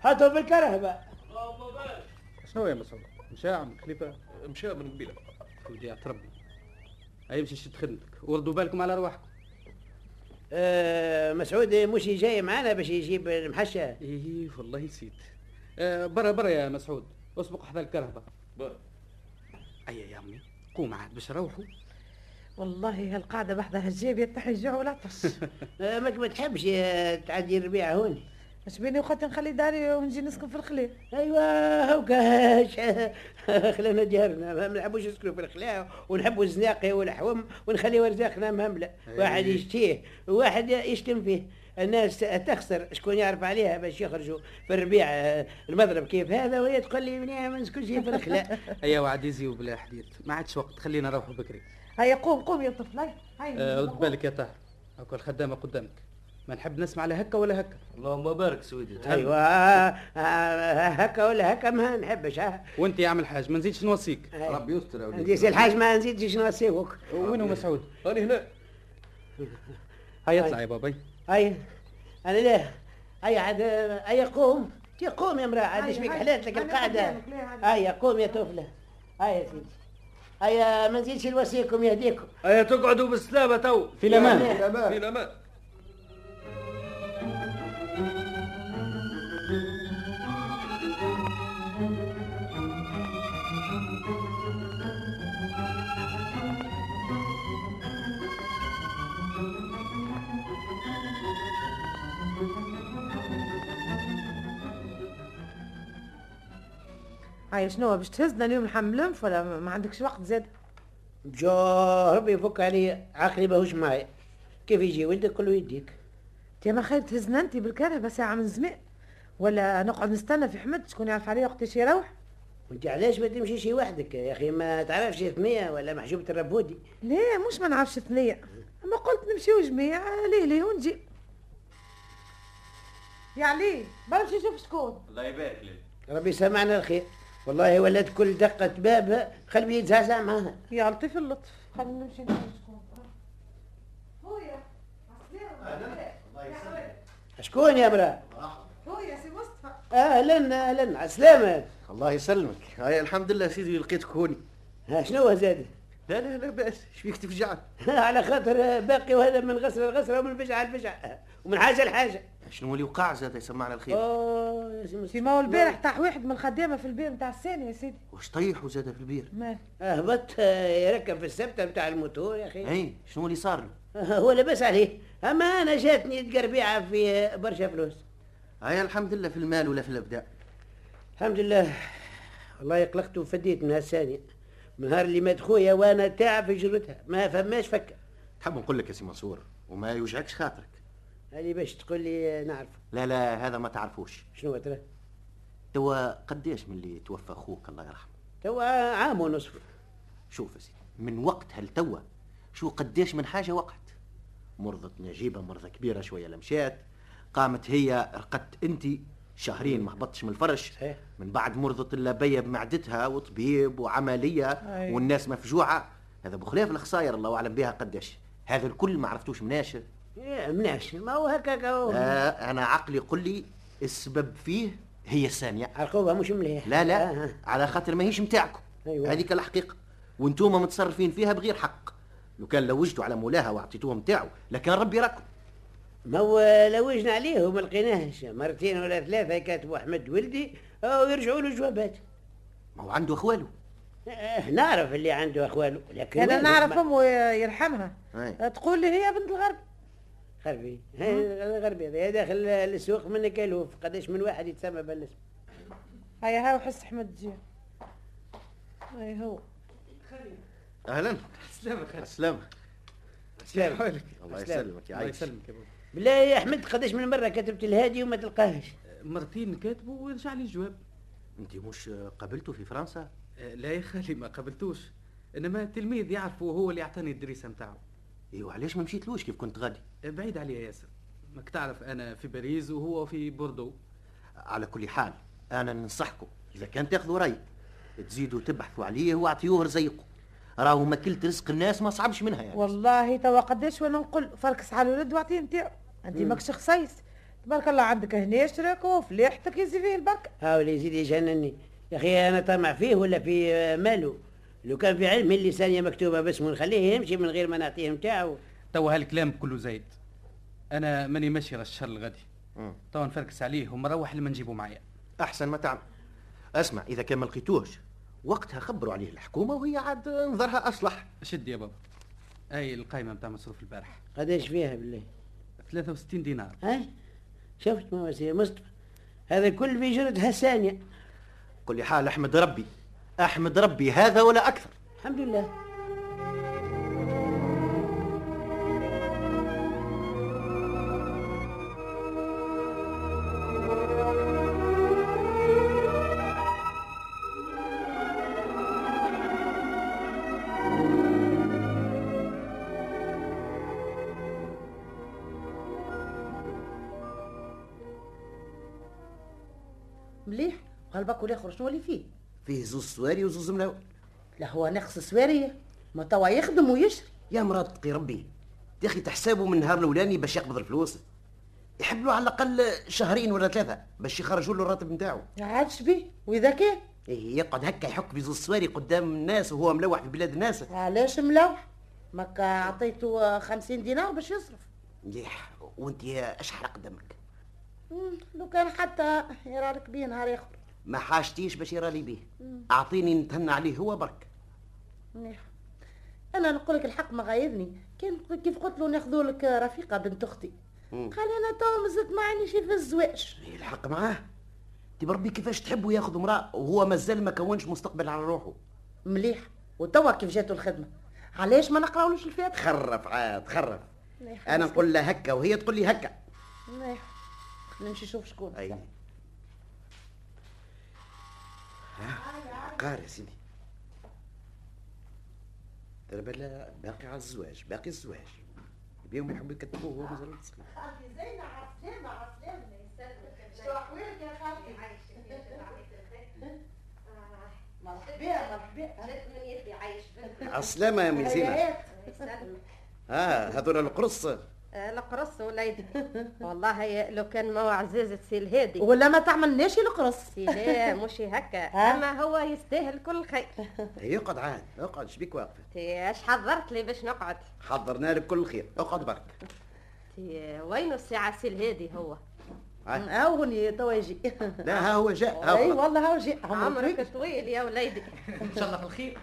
C: حطوا في الكرهبه
G: شنو يا مسعود مشاعم خليفه
H: مشى من قبيله
G: ودي ربي هاي مشي شد خدمتك وردوا بالكم على ارواحكم
C: آه، مسعود مش جاي معنا باش يجيب المحشه
G: ايه والله نسيت آه برا برا يا مسعود اسبق حدا الكرهبه اي يا عمي قوم عاد باش نروحوا
E: والله هالقعده بحذها الجيب يطيح الجوع والعطش
C: آه، ماك ما تحبش آه، تعدي الربيع هون
E: اش بيني وقت نخلي داري ونجي نسكن في الخليل
C: ايوا هوكا ش- خلانا ديارنا ما نحبوش نسكنوا في الخلاء ونحبوا الزناقي والحوم ونخليو ارزاقنا مهمله واحد يشتيه وواحد يشتم فيه الناس تخسر شكون يعرف عليها باش يخرجوا في الربيع آه، المضرب كيف هذا وهي تقول لي منيح ما نسكنش في الخلاء
G: ايا وعد يزيو بلا حديث ما عادش وقت خلينا نروحوا بكري
E: هيا قوم قوم يا طفل هيا
G: آه
E: هيا
G: رد بالك يا طاهر هاكا الخدامه قدامك ما نحب نسمع لا هكا ولا هكا
I: اللهم بارك سويدي
C: ايوا آه، آه، هكا ولا هكا ما نحبش ها
G: وانت يا عم الحاج ما نزيدش نوصيك
H: ربي يستر يا
C: نزيد سي
H: وليدي
C: الحاج ما نزيد شنو نسيوك
G: وينو مسعود
I: انا هنا
G: هيا اطلع يا بابي
C: اي انا ليه اي عاد اي قوم تي قوم يا امراه عاد
E: هاي
C: ايش بيك
E: هاي.
C: حلات لك
E: أنا
C: القعده
E: قدامك، ليه هذا؟
C: اي قوم يا طفله اي يا سيدي اي ما نزيدش الوسيكم يهديكم
I: ايا تقعدوا بالسلامه تو
G: في الامان
I: في
F: تمام
I: الامان
E: هيا شنو باش تهزنا اليوم الحملنف ولا ما- ما عندكش وقت زاد
C: جو ربي يفك علي عقلي ماهوش معايا كيف يجي ولدك كله يديك
E: يا ما خير تهزنا انت بالكرهبه ساعه من زمان ولا نقعد نستنى في حمد شكون يعرف عليه وقتاش يروح
C: وانت علاش ما تمشيش وحدك يا اخي ما تعرفش ثنيه ولا محجوبه الربودي
E: ليه مش ما نعرفش ثنية اما قلت نمشيو جميع ليه ليه ونجي يا علي بمشي نشوف شكون
D: الله يبارك لك
C: ربي سمعنا الخير والله ولد كل دقة باب قلبي يتزعزع معها
E: يا لطيف اللطف خلينا نمشي نشوف شكون خويا عسلامة
C: شكون يا امرأة؟
E: خويا سي مصطفى
C: اهلا اهلا عسلامة
H: الله يسلمك هاي الحمد لله سيدي لقيتك هوني
C: ها شنو زاد؟
H: لا لا لا باس شبيك تفجعني
C: على خاطر باقي وهذا من غسل لغسرة ومن فجعة لفجعة ومن حاجة لحاجة
H: شنو اللي وقع زاد يسمعنا الخير
C: اوه يا سي مصطفى.
E: في ما هو البارح طاح واحد من الخدامه في البير نتاع الثاني يا سيدي
H: وش طيحوا زاد في البير
E: مال
C: هبط آه، يركب في السبتة بتاع الموتور يا أخي
H: اي إيه، شنو اللي صار له
C: آه، هو لاباس عليه أما أنا جاتني تقربيعة في آه، برشا فلوس
H: هاي آه، الحمد لله في المال ولا في الابداع
C: الحمد لله والله يقلقت وفديت من هالثانية من نهار اللي مات خويا وأنا تاع في جرتها ما فماش فكة
H: تحب نقول لك يا سي منصور وما يوجعكش خاطرك
C: هذه باش تقول لي آه، نعرف
H: لا لا هذا ما تعرفوش
C: شنو ترى
H: توا قديش من اللي توفى اخوك الله يرحمه
C: توا عام ونصف
H: شوف يا سيدي من وقتها لتوا شو قديش من حاجه وقعت مرضت نجيبه مرضه كبيره شويه لمشات قامت هي رقدت انت شهرين ما هبطتش من الفرش
C: صحيح.
H: من بعد مرضت اللبيه بمعدتها وطبيب وعمليه
E: أي.
H: والناس مفجوعه هذا بخلاف الخسائر الله اعلم بها قداش هذا الكل ما عرفتوش مناش
C: إيه، مناش ما هو هكاك هو.
H: آه انا عقلي يقول لي السبب فيه هي الثانيه
C: عرقوبه مش مليح آه،
H: لا لا على خاطر ماهيش نتاعكم
C: أيوة.
H: هذيك الحقيقه وانتوما متصرفين فيها بغير حق لو كان لوجتوا على مولاها واعطيتوه نتاعو لكان ربي راكم
C: ما هو لوجنا عليه وما لقيناهش مرتين ولا ثلاثه كاتبوا احمد ولدي أو يرجعوا له جوابات
H: ما هو عنده اخواله
L: إيه،
C: آه، نعرف اللي عنده اخواله لكن
E: انا
C: والده
E: نعرف
C: ما-
E: امه يرحمها تقول لي هي بنت الغرب
C: غربي
L: إيه،
C: هاي غربي هذا داخل السوق من كالوف قداش من واحد يتسمى بالاسم
E: هيا هاو حس احمد جي هاي هو
H: اهلا
G: سلامك
H: السلامة
C: سلام
G: حولك
H: الله يسلمك يا
G: الله
H: عايش
G: يسلمك يا بابا
C: بالله يا احمد قداش من مره كتبت الهادي وما تلقاهش
G: مرتين كاتبه ورجع لي الجواب
H: انت مش قابلته في فرنسا
G: آه، لا يا خالي ما قابلتوش انما التلميذ يعرفه وهو اللي اعطاني الدريسه نتاعو
C: إيوه،
H: ايوا علاش ما مشيتلوش كيف كنت غادي
G: بعيد عليه ياسر ماك تعرف انا في باريس وهو في بوردو
H: على كل حال انا ننصحكم اذا كان تاخذوا راي تزيدوا تبحثوا عليه واعطيوه رزيقه راهو ماكلة رزق الناس ما صعبش منها يعني
E: والله توا قداش وانا نقول فركس على الولد واعطيه نتاعو انت
H: مم.
E: ماكش خصيص تبارك الله عندك هنا شراك وفليحتك يزي فيه البركه
C: هاو اللي يزيد يجنني يا اخي انا طمع فيه ولا في آه، ماله لو كان في علمي اللسانيه مكتوبه باسمه نخليه يمشي من غير ما نعطيه نتاعو
G: توا هالكلام كله زايد انا ماني ماشي للشهر الغدي توا نفركس عليه ومروح لما نجيبه معايا
H: احسن ما تعمل اسمع اذا كان ما لقيتوش وقتها خبروا عليه الحكومه وهي عاد نظرها اصلح
G: شد يا بابا اي القايمه نتاع مصروف البارح
C: قداش فيها بالله
G: 63 دينار
C: ها شفت ما وسيله مصطفى هذا كل في جرد هسانية
H: كل حال احمد ربي احمد ربي هذا ولا اكثر
C: الحمد لله
L: مليح وهالباكو الاخر شنو اللي فيه
H: فيه زوز سواري وزوز ملاوي
L: لا هو نقص سواريه ما توا يخدم ويشري
H: يا مراد تقي ربي يا اخي تحسابه من النهار الاولاني باش يقبض الفلوس يحب له على الاقل شهرين ولا ثلاثه باش يخرجوا له الراتب نتاعو
L: عادش بيه واذا كان
H: إيه يقعد هكا يحك في زوز سواري قدام الناس وهو ملوح في بلاد الناس
L: علاش ملوح مكا عطيته خمسين دينار باش يصرف
H: مليح وانت يا اشحر قدامك
L: مم، لو كان حتى يرارك بيه نهار اخر
H: ما حاجتيش باش يرالي بيه
L: مم.
H: اعطيني نتهنى عليه هو برك
L: مليح انا نقول لك الحق ما غايبني كان كيف قلت له ناخذ لك رفيقه بنت اختي
H: مم.
L: قال انا تو مازلت ما عينيش في الزواج
H: الحق معاه انت بربي كيفاش تحبه ياخذ امراه وهو مازال ما كونش مستقبل على روحه
L: مليح وتوا كيف جاتو الخدمه علاش ما نقراولوش الفاتحه
H: تخرف عاد تخرف
L: مليح،
H: انا نقول لها هكا وهي تقول لي هكا
L: مليح نمشي نشوف شكون
H: اي قاري سيدي ترى بلا باقي على الزواج باقي الزواج بيهم يحبوا يكتبوه وهو مازال صغير عسلامة يا أم زينة اه هذول القرص
M: القرص وليدي والله يا- لو كان ما هو عزيزة سي الهادي
L: ولا ما تعملناش القرص
M: سي لا مش هكا
L: ها؟
M: اما هو يستاهل كل خير
H: هي إيه، اقعد عاد اقعد شبيك واقفة
M: تي اش حضرت لي باش نقعد
H: حضرنا لك كل خير اقعد برك
M: تي وينو الساعة سي الهادي هو
L: هاو هني أه، توا يجي
H: لا ها هو جاء ها
L: اي
H: هو.
L: والله هاو جاء
M: عمرك طويل يا وليدي
G: ان شاء الله في الخير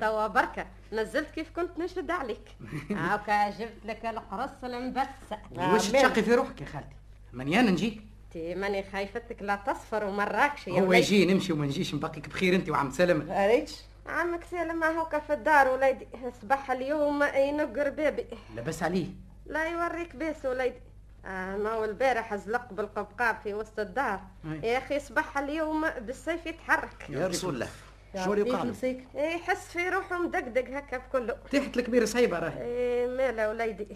M: توا بركة نزلت كيف كنت نشد عليك هاكا جبت لك القرص المبسة
G: وش تشقي في روحك يا خالتي ماني انا نجيك
M: تي ماني خايفتك لا تصفر ومراكش يا
G: هو
M: وليدي
G: يجي نمشي وما نجيش نبقيك بخير انت وعم سلمة
M: آه.
L: عريتش
M: عمك سالم هاكا في الدار وليدي صباح اليوم ينقر بابي
G: لبس عليه
M: لا يوريك باس وليدي آه ما هو البارح زلق بالقبقاب في وسط الدار
G: أي.
M: يا اخي صباح اليوم بالسيف يتحرك
G: يا رسول الله
M: شو
G: اللي يوقع له؟
M: إيه، يحس في روحه مدقدق هكا بكله
G: تحت الكبير صعيبة راهي
M: إيه ماله وليدي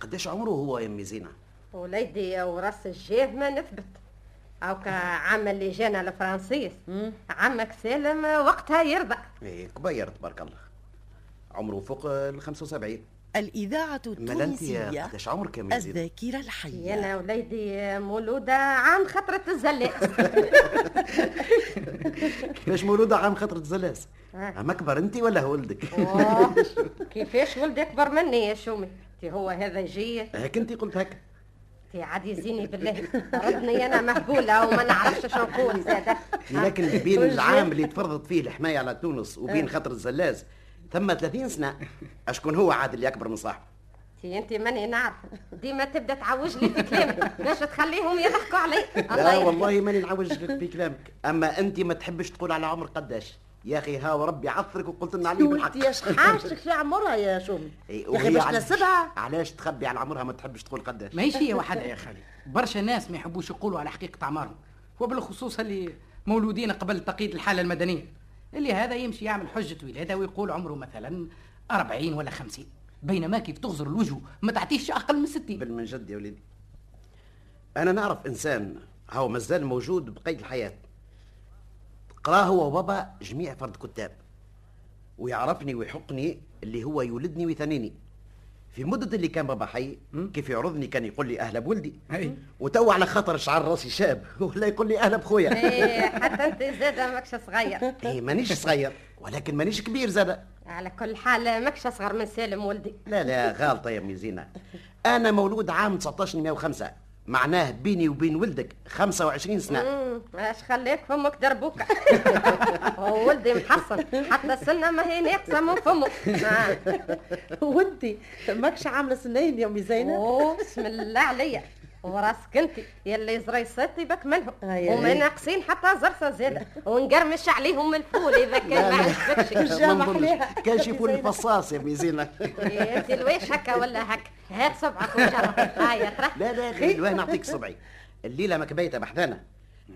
H: قداش عمره هو يا امي زينه
M: وليدي وراس الجاه ما نثبت هاكا عام اللي جانا لفرنسيس عمك سالم وقتها يرضى
H: إيه، ايه كبير تبارك الله عمره فوق ال 75
N: الإذاعة
H: أمال أنت يا
N: التونسية
H: قداش عمرك يا أم يزيد؟
N: الذاكرة الحية
M: أنا وليدي مولودة عام خطرة الزلاق
H: كيفاش مولودة عام خاطر الزلاس
M: أه.
H: عم أكبر أنت ولا هو ولدك؟
M: أوه، كيفاش ولدي أكبر مني يا شومي تي هو هذا يجي
H: هيك أنت قلت هكا
M: تي عاد يزيني بالله ردني أنا مهبولة وما نعرفش شنو نقول زادة
H: لكن بين العام اللي تفرضت فيه الحماية على تونس وبين
M: آه.
H: خاطر الزلاس ثم 30 سنة أشكون هو عاد اللي أكبر من صاحبه؟
M: تي أنت ماني نعرف ديما تبدا تعوج لي في كلامي باش تخليهم يضحكوا علي الله
H: لا
M: يهديك.
H: والله ماني نعوج لك في كلامك اما انت ما تحبش تقول على عمر قداش يا اخي ها وربي عثرك وقلت لنا عليه بالحق
L: ولدي يا شيخ حاجتك في عمرها يا شومي
H: يا
L: يا أخي باش نسبها.
H: علاش تخبي على عمرها ما تحبش تقول قداش
K: ماهيش هي وحدها يا خالي برشا ناس ما يحبوش يقولوا على حقيقه اعمارهم وبالخصوص اللي مولودين قبل تقييد الحاله المدنيه اللي هذا يمشي يعمل حجه ولاده ويقول عمره مثلا 40 ولا 50 بينما كيف تغزر الوجه ما تعطيش اقل من 60
H: من جد يا وليدي انا نعرف انسان هو مازال موجود بقيد الحياه قراه هو وبابا جميع فرد كتاب ويعرفني ويحقني اللي هو يولدني ويثنيني في مدة اللي كان بابا حي كيف يعرضني كان يقول لي أهلا بولدي وتو على خاطر شعر راسي شاب ولا يقول لي أهلا بخويا
M: إيه، حتى أنت زادة ماكش صغير
H: إيه مانيش صغير ولكن مانيش كبير زاد
M: على كل حال ماكش أصغر من سالم ولدي
H: لا لا غلطة يا أمي زينة أنا مولود عام 1905 معناه بيني وبين ولدك 25 سنة
M: مم، اش خلاك فمك دربوك هو ولدي محصن حتى السنه ما هي ناقصه من فمك آه.
L: وانتي ماكش عامله سنين يا امي زينب
M: اوه بسم الله عليا وراسك انت يلي زري صيتي بك منهم
L: أي.
M: وما ناقصين حتى زرسه زاده ونقرمش عليهم الفول اذا كان ما عجبكش
H: ما نظنش. كان شيفوا الفصاص يا أمي زينة
M: إيه، انت الواش هكا ولا هكا هات صبعك وجرب هيا ترى
H: لا لا غير الوان نعطيك صبعي الليلة مكبيتة بحذانا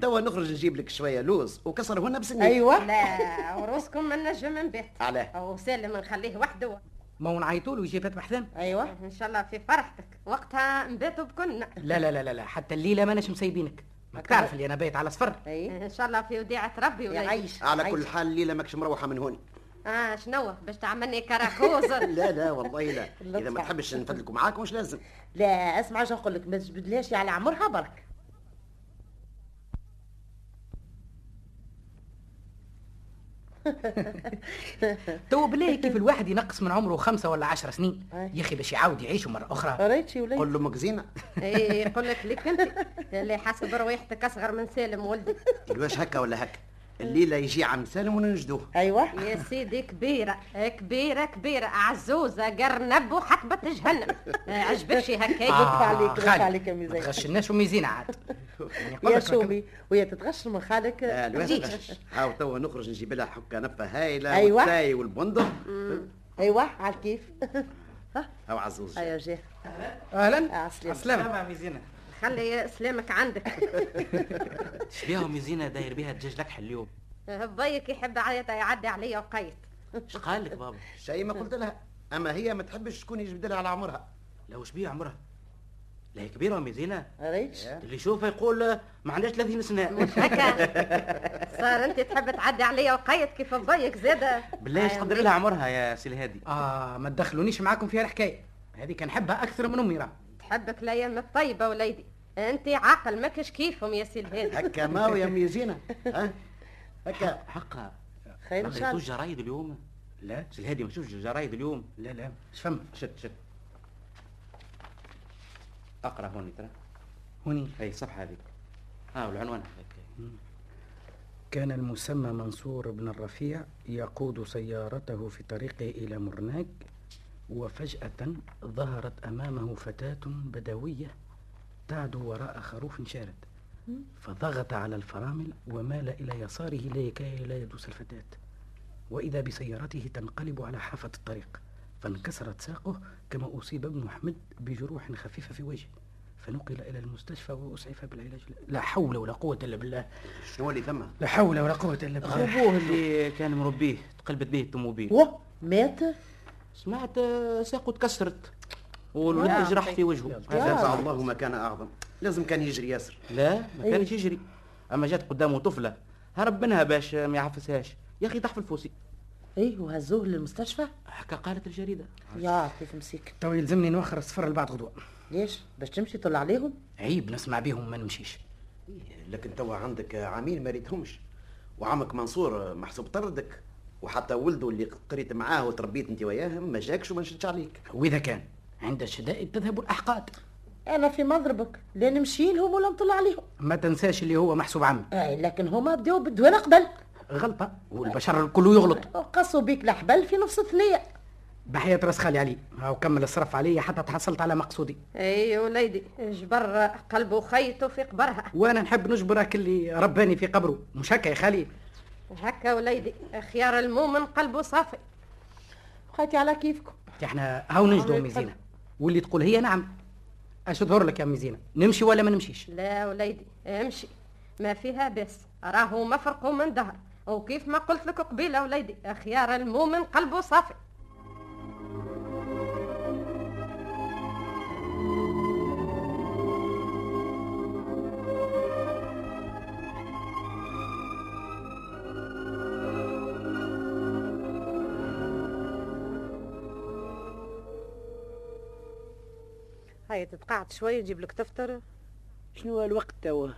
H: توا نخرج نجيب لك شوية لوز وكسر هنا بسنين
L: أيوة.
M: أيوة. لا وروسكم ما نجم من بيت
H: علاه
M: وسالم نخليه وحده
K: ما هو نعيطوا له يجيب بحذان
M: ايوه
L: أيوة.
K: أيوة.
M: ان شاء الله في فرحتك وقتها نباتوا بكلنا
K: لا لا لا لا, لا. حتى الليله ما ناش مسيبينك ما تعرف اللي انا بايت على صفر
M: ان شاء الله في وديعه ربي ولا يعيش
H: على كل حال الليلة ماكش مروحة من هون
M: اه شنو باش تعملني كراكوز
H: لا لا والله لا إذا ما تحبش نفدلكم معاك مش لازم
L: لا اسمع شنو نقول لك ما تجبدلهاش على عمرها برك
K: تو بالله كيف الواحد ينقص من عمره خمسة ولا عشر سنين يا اخي باش يعاود يعيشوا مره اخرى
L: ريت شي إيه؟ وليد
H: قول له مكزينه
M: اي يقول لك ليك انت اللي حسب روايحتك اصغر من سالم ولدي
H: الواش هكا ولا هكا الليلة يجي عم سالم وننجدوه
L: ايوه
M: يا سيدي كبيره كبيره كبيره عزوزه قرنب وحقبه جهنم آه، عجبكش هكاك
L: وقف عليك وقف
K: آه، خالد.
L: عليك يا امي
K: ما
L: زينب
K: تغشناش وميزين عاد يعني نقول
L: يا
K: لك ركب-
L: شومي ويا تتغش من خالك
H: الواش
L: تجيش.
H: غش. هاو توا نخرج نجيب لها حكة نفة هايلة
L: أيوة.
H: والشاي والبندق
L: ايوه على الكيف
H: هاو عزوز
M: أيوة.
L: ايوه جاه
K: اهلا
L: عسلامة.
K: السلامة ميزينة
M: آه، خلي سلامك عندك
G: شبيهم ميزينة داير بيها الدجاج لكح اليوم
M: آه، بايك يحب عيط يعدي عليا وقيت
G: اش قال لك بابا
H: شيء ما قلت لها أما هي ما تحبش شكون يجبد لها على عمرها
G: لو شبيه عمرها لا هي كبيرة ميزينة
L: ريتش
G: اللي يشوفها يقول آه، ما عندهاش 30 سنة
M: صار انت تحب تعدي عليا وقيت كيف بايك زاده
G: بالله اش تقدر لها عمرها يا سي الهادي
K: اه ما تدخلونيش معاكم فيها الحكايه هذه كنحبها اكثر من امي راه
M: تحبك ليام الطيبة وليدي انت عاقل ماكش كيفهم يا سي الهادي
H: هكا ماو يا أمي زينة ها هكا
G: حقها
L: خير
G: ما
L: ان شاء
G: قريتوش
L: الله
G: جرايد اليوم
K: لا
G: سي الهادي ما شفتش جرايد اليوم
K: لا لا اش فما
G: شت شت اقرا هوني ترى
K: هوني
G: اي الصفحة هذيك ها والعنوان هذاك
K: كان المسمى منصور بن الرفيع يقود سيارته في طريقه إلى مرناك وفجأة ظهرت أمامه فتاة بدوية تعدو وراء خروف شارد فضغط على الفرامل ومال إلى يساره لكي لا يدوس الفتاة وإذا بسيارته تنقلب على حافة الطريق فانكسرت ساقه كما أصيب ابن أحمد بجروح خفيفة في وجهه فنقل إلى المستشفى وأسعف بالعلاج لا حول ولا قوة إلا بالله
H: شنو اللي ثم
K: لا حول ولا قوة إلا بالله
G: خوبوه اللي كان مربيه تقلبت به الطوموبيل
L: واه مات
G: سمعت آه، ساقه تكسرت والولد جرح في وجهه
H: دفع الله ما كان أعظم لازم كان يجري ياسر
G: لا ما
H: أيوة.
G: كانش يجري اما جات قدامه طفله هرب منها باش ما يعفسهاش يا اخي تحفل فوسي
L: ايه وهزوه للمستشفى
O: هكا قالت الجريده
L: يعطيك مسيك
K: تو يلزمني نوخر السفر لبعد غدوه
L: ليش باش تمشي طلع عليهم
K: عيب نسمع بيهم ما نمشيش
H: لكن توا عندك عامين ما ريتهمش وعمك منصور محسوب طردك وحتى ولده اللي قريت معاه وتربيت انت وياه ما جاكش وما نشدش عليك
K: واذا كان عند الشدائد تذهب الاحقاد
L: انا في مضربك لا نمشي لهم ولا نطلع عليهم
K: ما تنساش اللي هو محسوب عمي
L: اي لكن هما بداو بالدواء قبل
K: غلطه والبشر الكل يغلط
L: قصوا بيك الحبل في نفس الثنيه
K: بحياة راس خالي علي هاو كمل الصرف عليا حتى تحصلت على مقصودي
M: اي وليدي جبر قلبه خيطه في قبرها
K: وانا نحب نجبرك اللي رباني في قبره مش هكا يا خالي
M: هكا وليدي خيار المؤمن قلبه صافي
L: خاتي على كيفكم
K: احنا هاو نجدوا ميزينا واللي تقول هي نعم اش تظهر لك يا ميزينا نمشي ولا ما نمشيش
M: لا وليدي امشي ما فيها باس راهو ما فرقوا من دهر وكيف ما قلت لك قبيله وليدي خيار المؤمن قلبه صافي
L: هيا تتقعد شويه نجيب لك تفطر
C: شنو الوقت توا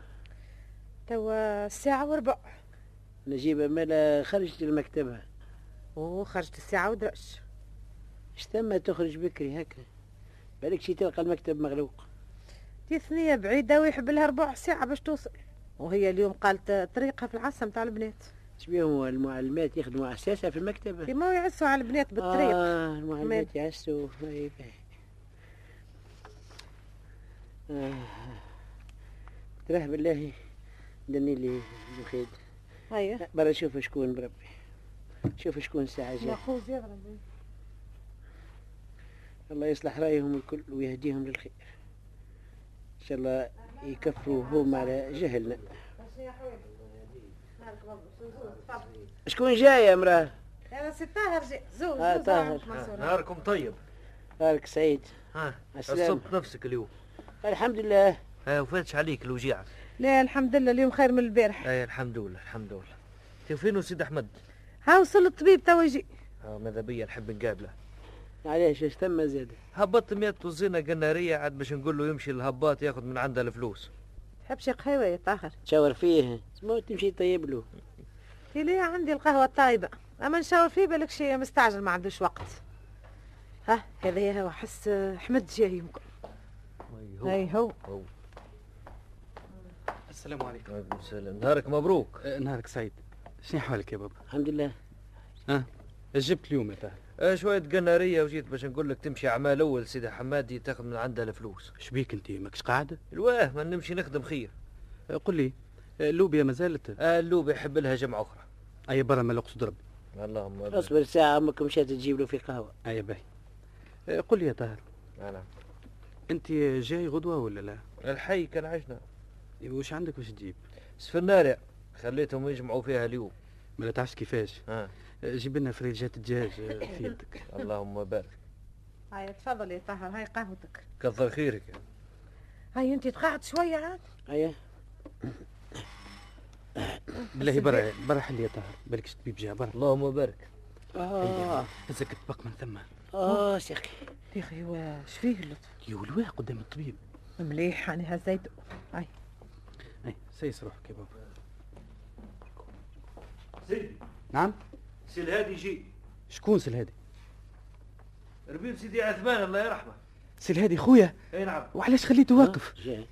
L: توا الساعه وربع
C: نجيبة مالا خرجت المكتبة
L: وخرجت الساعه ودرش
C: اش ثم تخرج بكري هكا بالك شي تلقى المكتب مغلوق
L: تي ثنيه بعيده ويحبلها ربع ساعه باش توصل وهي اليوم قالت طريقها في العاصمه تاع البنات
C: شبيهم المعلمات يخدموا على اساسها في المكتبة
L: كيما يعسوا على البنات بالطريق
C: آه المعلمات طيب. يعسوا أي باهي. آه. تراه بالله دني لي بخيت
L: هيا
C: برا شوف شكون بربي شوف شكون ساعة جاي
L: ماخوذ يضرب
C: الله يصلح رايهم الكل ويهديهم للخير ان شاء الله يكفروا هم على جهلنا شكون جاي يا امراه
L: انا سي طاهر جاي زوج
C: آه،
L: زوج
C: طاهر.
L: عمك منصور.
I: نهاركم طيب
C: دارك سعيد
I: ها
C: السلامة.
I: عصبت نفسك اليوم
C: الحمد لله
I: ها وفاتش عليك الوجيعة
E: لا الحمد لله اليوم خير من البارح
I: اي الحمد لله الحمد لله تي فينو سيد احمد
E: ها وصل الطبيب توا يجي
I: آه، ماذا بيا نحب نقابله
C: علاش اش ثم زاد
I: هبط 100 وزينة قنارية عاد باش نقول له يمشي للهباط ياخذ من عندها الفلوس
E: تحبش قهوه يا طاهر
C: تشاور فيه ما تمشي طيب له
E: تي ليه عندي القهوه الطايبه اما نشاور فيه بالك شي مستعجل ما عندوش وقت ها هذا هو حس حمد جاي يمكن هاي هو
I: هو.
K: السلام عليكم
I: وعليكم السلام نهارك مبروك
G: أه، نهارك سعيد شنو حوالك يا بابا
C: الحمد لله
G: اه جبت اليوم يا طاهر
I: آه، شوية قنارية وجيت باش نقول لك تمشي عمال أول سيدي حمادي تاخذ من عندها الفلوس
G: شبيك انت ماكش قاعده
I: الواه ما نمشي نخدم خير
G: آه، قل لي آه، اللوبيا ما زالت
I: آه، اللوبيا يحب لها جمعة أخرى
G: اي برا ما لقصد ربي
I: اللهم أبدا.
C: اصبر ساعة امك مشات تجيب له في قهوة
G: اي باهي آه، قل لي يا طاهر
I: نعم
G: انت جاي غدوه ولا لا
I: الحي كان عشنا
G: وش عندك باش تجيب
I: سفنارة خليتهم يجمعوا فيها اليوم
G: ما تعرفش كيفاش
I: آه.
G: جيب لنا فريجات دجاج آه، في يدك
I: اللهم بارك
E: هاي تفضل يا طاهر هاي قهوتك
I: كثر خيرك
E: هاي انت تقعد شويه عاد
C: ايه
G: بالله برا برا حلي يا طاهر بالك الطبيب جا برا
I: اللهم بارك
G: أيوة.
C: اه
G: هزك الطبق آه. من ثم
C: اه سيخي
E: يا اخي هو شفيه اللطف
G: يا ولواه قدام الطبيب
E: مليح انا هزيته هاي
G: اي سيس روحك يا بابا
I: سيدي
G: نعم
I: سي الهادي جي
G: شكون سي الهادي
I: ربيب سيدي عثمان الله يرحمه
G: سي الهادي خويا
I: اي نعم
G: وعلاش خليته واقف
C: جاي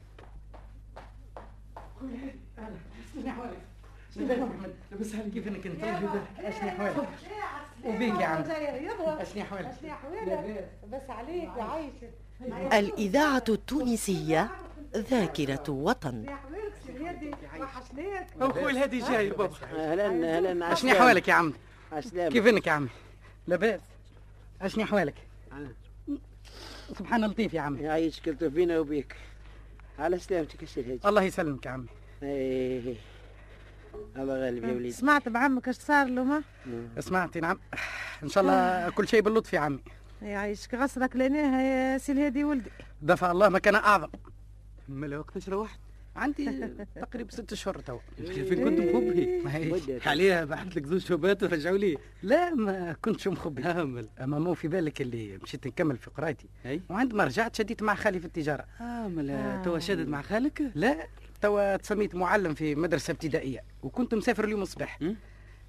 K: شنو حوالك شنو بالك احمد لاباس عليك كيف انك انت اشني حوالك وبيك يا عم اشني حوالك
L: شنو حوالك بس عليك وعايشك
P: الإذاعة التونسية ذاكرة وطن
L: حوالك سي الهادي وحشناك
K: هو خويا الهادي جاي يا بابا
C: اهلا اهلا
K: اشني حوالك يا عم
C: عسلامة
K: كيف انك يا عم لاباس اشني حوالك سبحان لطيف يا عمي
C: يعيشك كلتو طيب. فينا وبيك على سلامتك السي الهادي
K: الله يسلمك يا عمي
C: إيه. الله غالب يا وليدي
E: سمعت بعمك اش صار له ما
K: سمعتي نعم ان شاء الله كل شيء باللطف يا عمي
E: يعيشك غصرك لاناها يا سي الهادي ولدي
K: دفع الله ما كان اعظم ملا وقتاش روحت عندي تقريبا ست شهور تو فين كنت مخبي عليها بحث لك زوج شوبات ورجعوا لي لا ما كنتش مخبي هامل اما مو في بالك اللي مشيت نكمل في قرايتي وعندما رجعت شديت مع خالي في التجاره هامل
Q: آه.
K: توا شادد مع خالك لا توا تسميت معلم في مدرسه ابتدائيه وكنت مسافر اليوم الصباح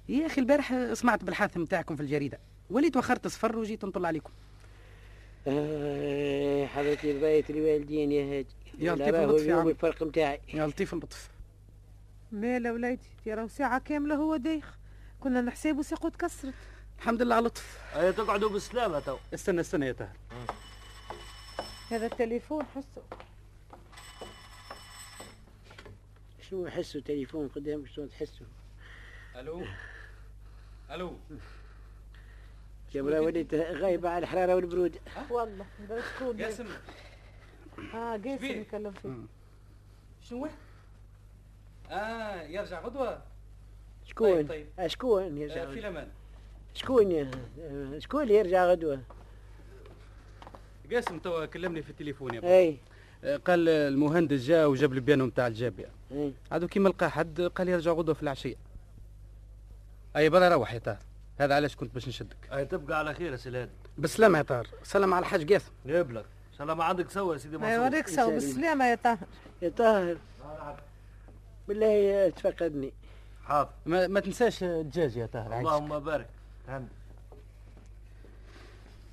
K: يا اخي البارح سمعت بالحادث نتاعكم في الجريده وليت وخرت صفر وجيت نطل عليكم
C: آه، حبيبتي البيت الوالدين يا هاجي
K: يا
C: لا
K: لطيف
C: راهو
K: اللطف يا
C: اليوم
K: عم.
C: الفرق متاعي
K: يا لطيف اللطف
E: مالا وليدي ترى ساعة كاملة هو دايخ كنا نحسابه ساقه تكسرت
K: الحمد لله على لطف
I: أي تقعدوا بالسلامة تو
K: استنى استنى يا طاهر
E: هذا التليفون حسه
C: شنو حسوا تليفون قدام شنو تحسوا
G: آه.
I: الو الو
C: جبرا وليت غايبة على الحرارة والبرود
K: أه؟
E: والله برسكول
I: قاسم
C: آه،
E: اه قاسم
I: شبيه؟
E: يتكلم فيه
G: شنو اه يرجع غدوه
C: شكون
G: طيب،
C: آه، شكون يرجع
G: آه، في
C: غدوة؟
G: الامان
C: شكون آه، شكون اللي يرجع غدوة
G: قاسم توا كلمني في التليفون يا آه،
C: اي
G: قال المهندس جا وجاب البيانو نتاع الجابيه
I: إيه.
C: إي.
G: عادو كيما لقى حد قال يرجع غدوه في العشيه اي برا روح يا طاهر هذا علاش كنت باش نشدك
I: أي تبقى على خير يا سي الهادي
G: بالسلامه يا طاهر سلام على الحاج قاسم
I: يبلغ ان شاء الله ما عندك سوا يا سيدي
E: ما
C: أيوة،
I: منصور
E: يوريك سوا بالسلامة يا طاهر
C: يا طاهر بالله تفقدني
I: حاضر
G: ما, ما تنساش الدجاج يا طاهر عايشك
I: اللهم بارك عندي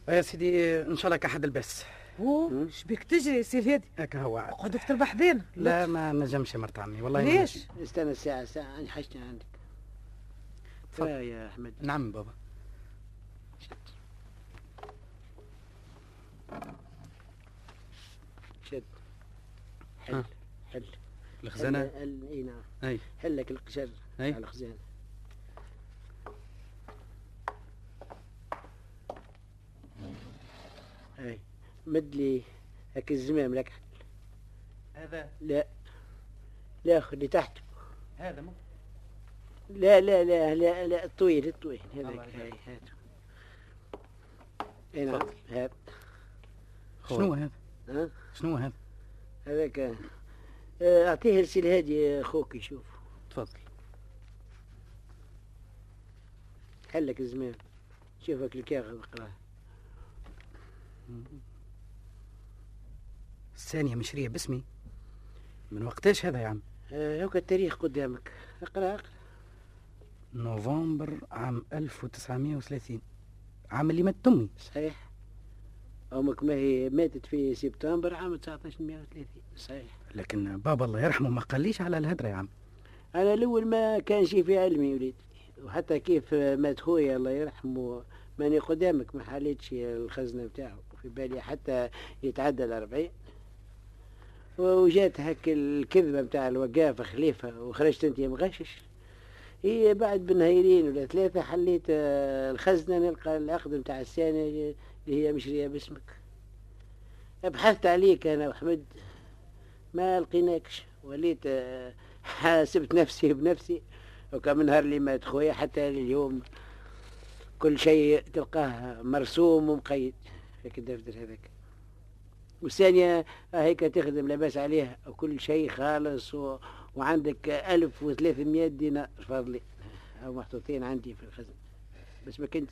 G: يا سيدي ان شاء الله كحد البس
E: هو شبيك تجري يا سي الهادي
G: هكا هو عاد.
E: قعدوا تربح بينا
G: لا ما نجمش يا مرت عمي والله ما نجمش.
E: ليش؟
C: استنى ساعة ساعة أنا حشتني عندك
G: تفضل.
C: ترى يا أحمد
G: نعم بابا
C: شد حل حل
G: الخزانة؟
C: حل- حل اي نعم
G: اي
C: حلك القشر
G: أي.
C: على الخزانة اي مد لي هاك الزمام لك
G: هذا
C: لا لا خذ اللي تحت
G: هذا مو
C: لا لا لا لا لا الطويل الطويل
G: الله
C: هذاك
G: يبارك.
C: هاي هاته اي نعم هذا
G: شنو هذا
C: ها
G: شنو هذا
C: هذاك آه، اعطيه لسي الهادي آه، اخوك يشوف
G: تفضل
C: حلك الزمان شوفك الكاغذ اقراه
G: الثانيه مشريه باسمي من وقتاش هذا يا عم
C: آه، هوك التاريخ قدامك اقرا اقرا
G: نوفمبر عام 1930 عام اللي مات امي
C: صحيح امك ما هي ماتت في سبتمبر عام 1930 صحيح
G: لكن بابا الله يرحمه ما قاليش على الهدره يا عم
C: انا الاول ما كان شي في علمي وليد وحتى كيف آه، مات خويا الله يرحمه ماني قدامك ما حليتش الخزنه بتاعه في بالي حتى يتعدى الأربعين وجات هك الكذبه بتاع الوقافه خليفه وخرجت انت مغشش هي بعد بنهايرين ولا ثلاثه حليت آه، الخزنه نلقى العقد نتاع السنه اللي هي مشريه باسمك بحثت عليك انا وحمد ما لقيناكش وليت آه، حاسبت نفسي بنفسي وكان من نهار اللي مات خويا حتى اليوم كل شيء تلقاه مرسوم ومقيد هيك الدفتر هذاك والثانية هيك تخدم لاباس عليها وكل شيء خالص و... وعندك ألف وثلاثمائة دينار فضلي أو محطوطين عندي في الخزنة بس ما كنت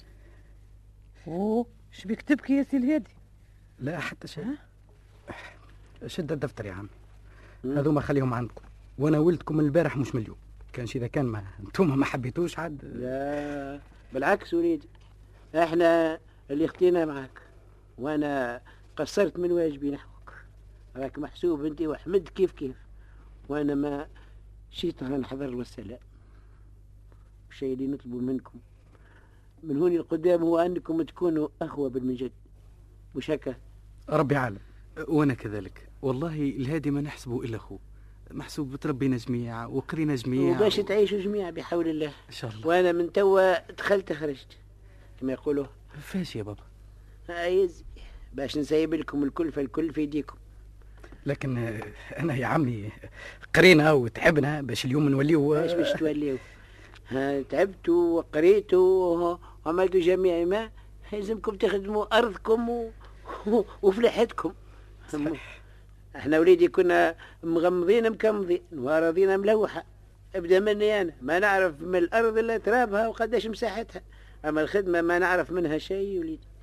E: هو شبيك تبكي يا سي الهادي
G: لا حتى شيء شد الدفتر يا عم هذوما خليهم عندكم وانا ولدكم من البارح مش من اليوم كانش اذا كان ما انتم ما حبيتوش عاد
C: لا بالعكس وليدي احنا اللي خطينا معاك وانا قصرت من واجبي نحوك راك محسوب انت واحمد كيف كيف وانا ما شيت نحضر له السلام الشيء اللي نطلبه منكم من هوني القدام هو انكم تكونوا اخوه بالمجد مش هكا
G: ربي عالم
K: وانا كذلك والله الهادي ما نحسبه الا اخوه محسوب تربينا جميع وقرينا جميع
C: وباش تعيشوا جميع بحول الله
K: ان شاء الله
C: وانا من توا دخلت خرجت كما يقولوا
K: فاش يا بابا
C: عايز باش نسيب لكم الكلفه الكل في يديكم
G: لكن آه، انا يا عمي قرينا وتعبنا باش اليوم نوليو
C: علاش
K: آه.
C: باش توليو ها، تعبتوا وقريتوا وعملتوا جميع ما لازمكم تخدموا ارضكم و... وفلاحتكم احنا وليدي كنا مغمضين مكمضين وراضينا ملوحه ابدا مني انا ما نعرف من الارض الا ترابها وقداش مساحتها اما الخدمه ما نعرف منها شيء وليدي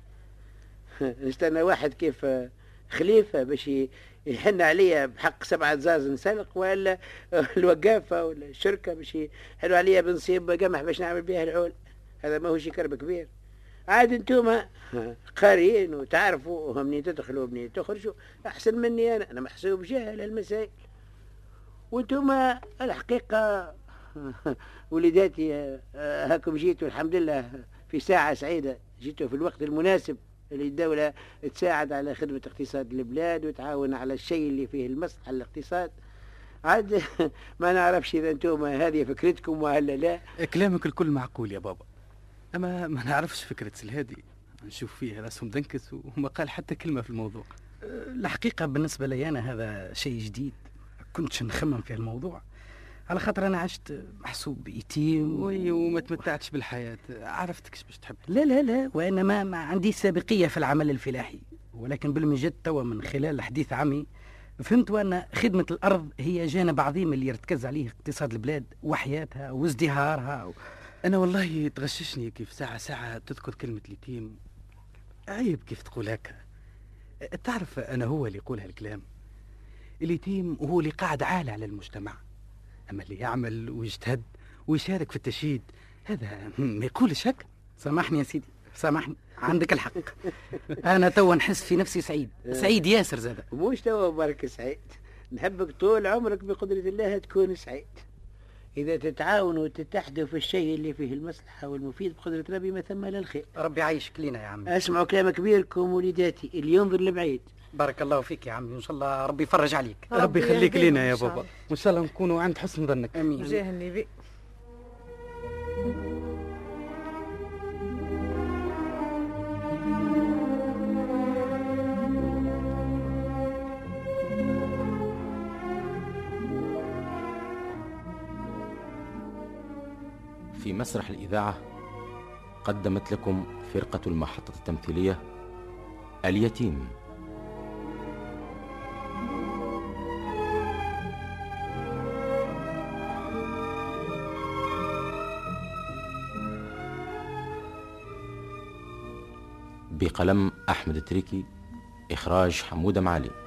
C: نستنى واحد كيف آه، خليفه باش ي- يحن عليا بحق سبعة زاز نسلق ولا الوقافة ولا الشركة باش يحلوا عليا بنصيب قمح باش نعمل بها العول هذا ما هوش كرب كبير عاد انتوما قاريين وتعرفوا منين تدخلوا منين تخرجوا احسن مني انا انا محسوب جاهل المسائل وانتوما الحقيقه وليداتي آه، آه، هاكم جيتوا الحمد لله في ساعه سعيده جيتوا في الوقت المناسب اللي الدولة تساعد على خدمة اقتصاد البلاد وتعاون على الشيء اللي فيه المصلحة للاقتصاد عاد ما نعرفش إذا أنتم هذه فكرتكم ولا لا
K: كلامك الكل معقول يا بابا اما ما نعرفش فكره الهادي نشوف فيه راسهم دنكس وما قال حتى كلمه في الموضوع
G: آه،
K: الحقيقة بالنسبة لي أنا هذا شيء جديد كنتش نخمم في الموضوع على خاطر أنا عشت محسوب يتيم وي وما تمتعتش بالحياة عرفتكش باش تحب لا لا لا وإنما ما عندي سابقية في العمل الفلاحي ولكن بالمجد توا من خلال حديث عمي فهمت أن خدمة الأرض هي جانب عظيم اللي يرتكز عليه اقتصاد البلاد وحياتها وازدهارها و... أنا والله تغششني كيف ساعة ساعة تذكر كلمة اليتيم عيب كيف تقول هكا تعرف أنا هو اللي يقول هالكلام اليتيم هو اللي قاعد عالي على المجتمع أما اللي يعمل ويجتهد ويشارك في التشييد هذا ما يقولش هكا سامحني يا سيدي سامحني عندك الحق أنا توا نحس في نفسي سعيد سعيد ياسر زاد
C: آه، مش توا برك سعيد نحبك طول عمرك بقدرة الله تكون سعيد إذا تتعاونوا وتتحدوا في الشيء اللي فيه المصلحة والمفيد بقدرة ربي ما ثم لا الخير
K: ربي يعيشك لينا يا عمي
C: أسمعوا كلام كبيركم وليداتي اللي ينظر لبعيد
K: بارك الله فيك يا عمي إن شاء الله ربي يفرج عليك
C: ربي ربي يهديك لينا يا إن شاء بابا. الله.
K: وإن شاء الله نكونوا عند حسن ظنك آمين
E: وجاه النبي
B: في مسرح الإذاعة قدمت لكم فرقة المحطة التمثيلية اليتيم بقلم أحمد التريكي إخراج حمودة معالي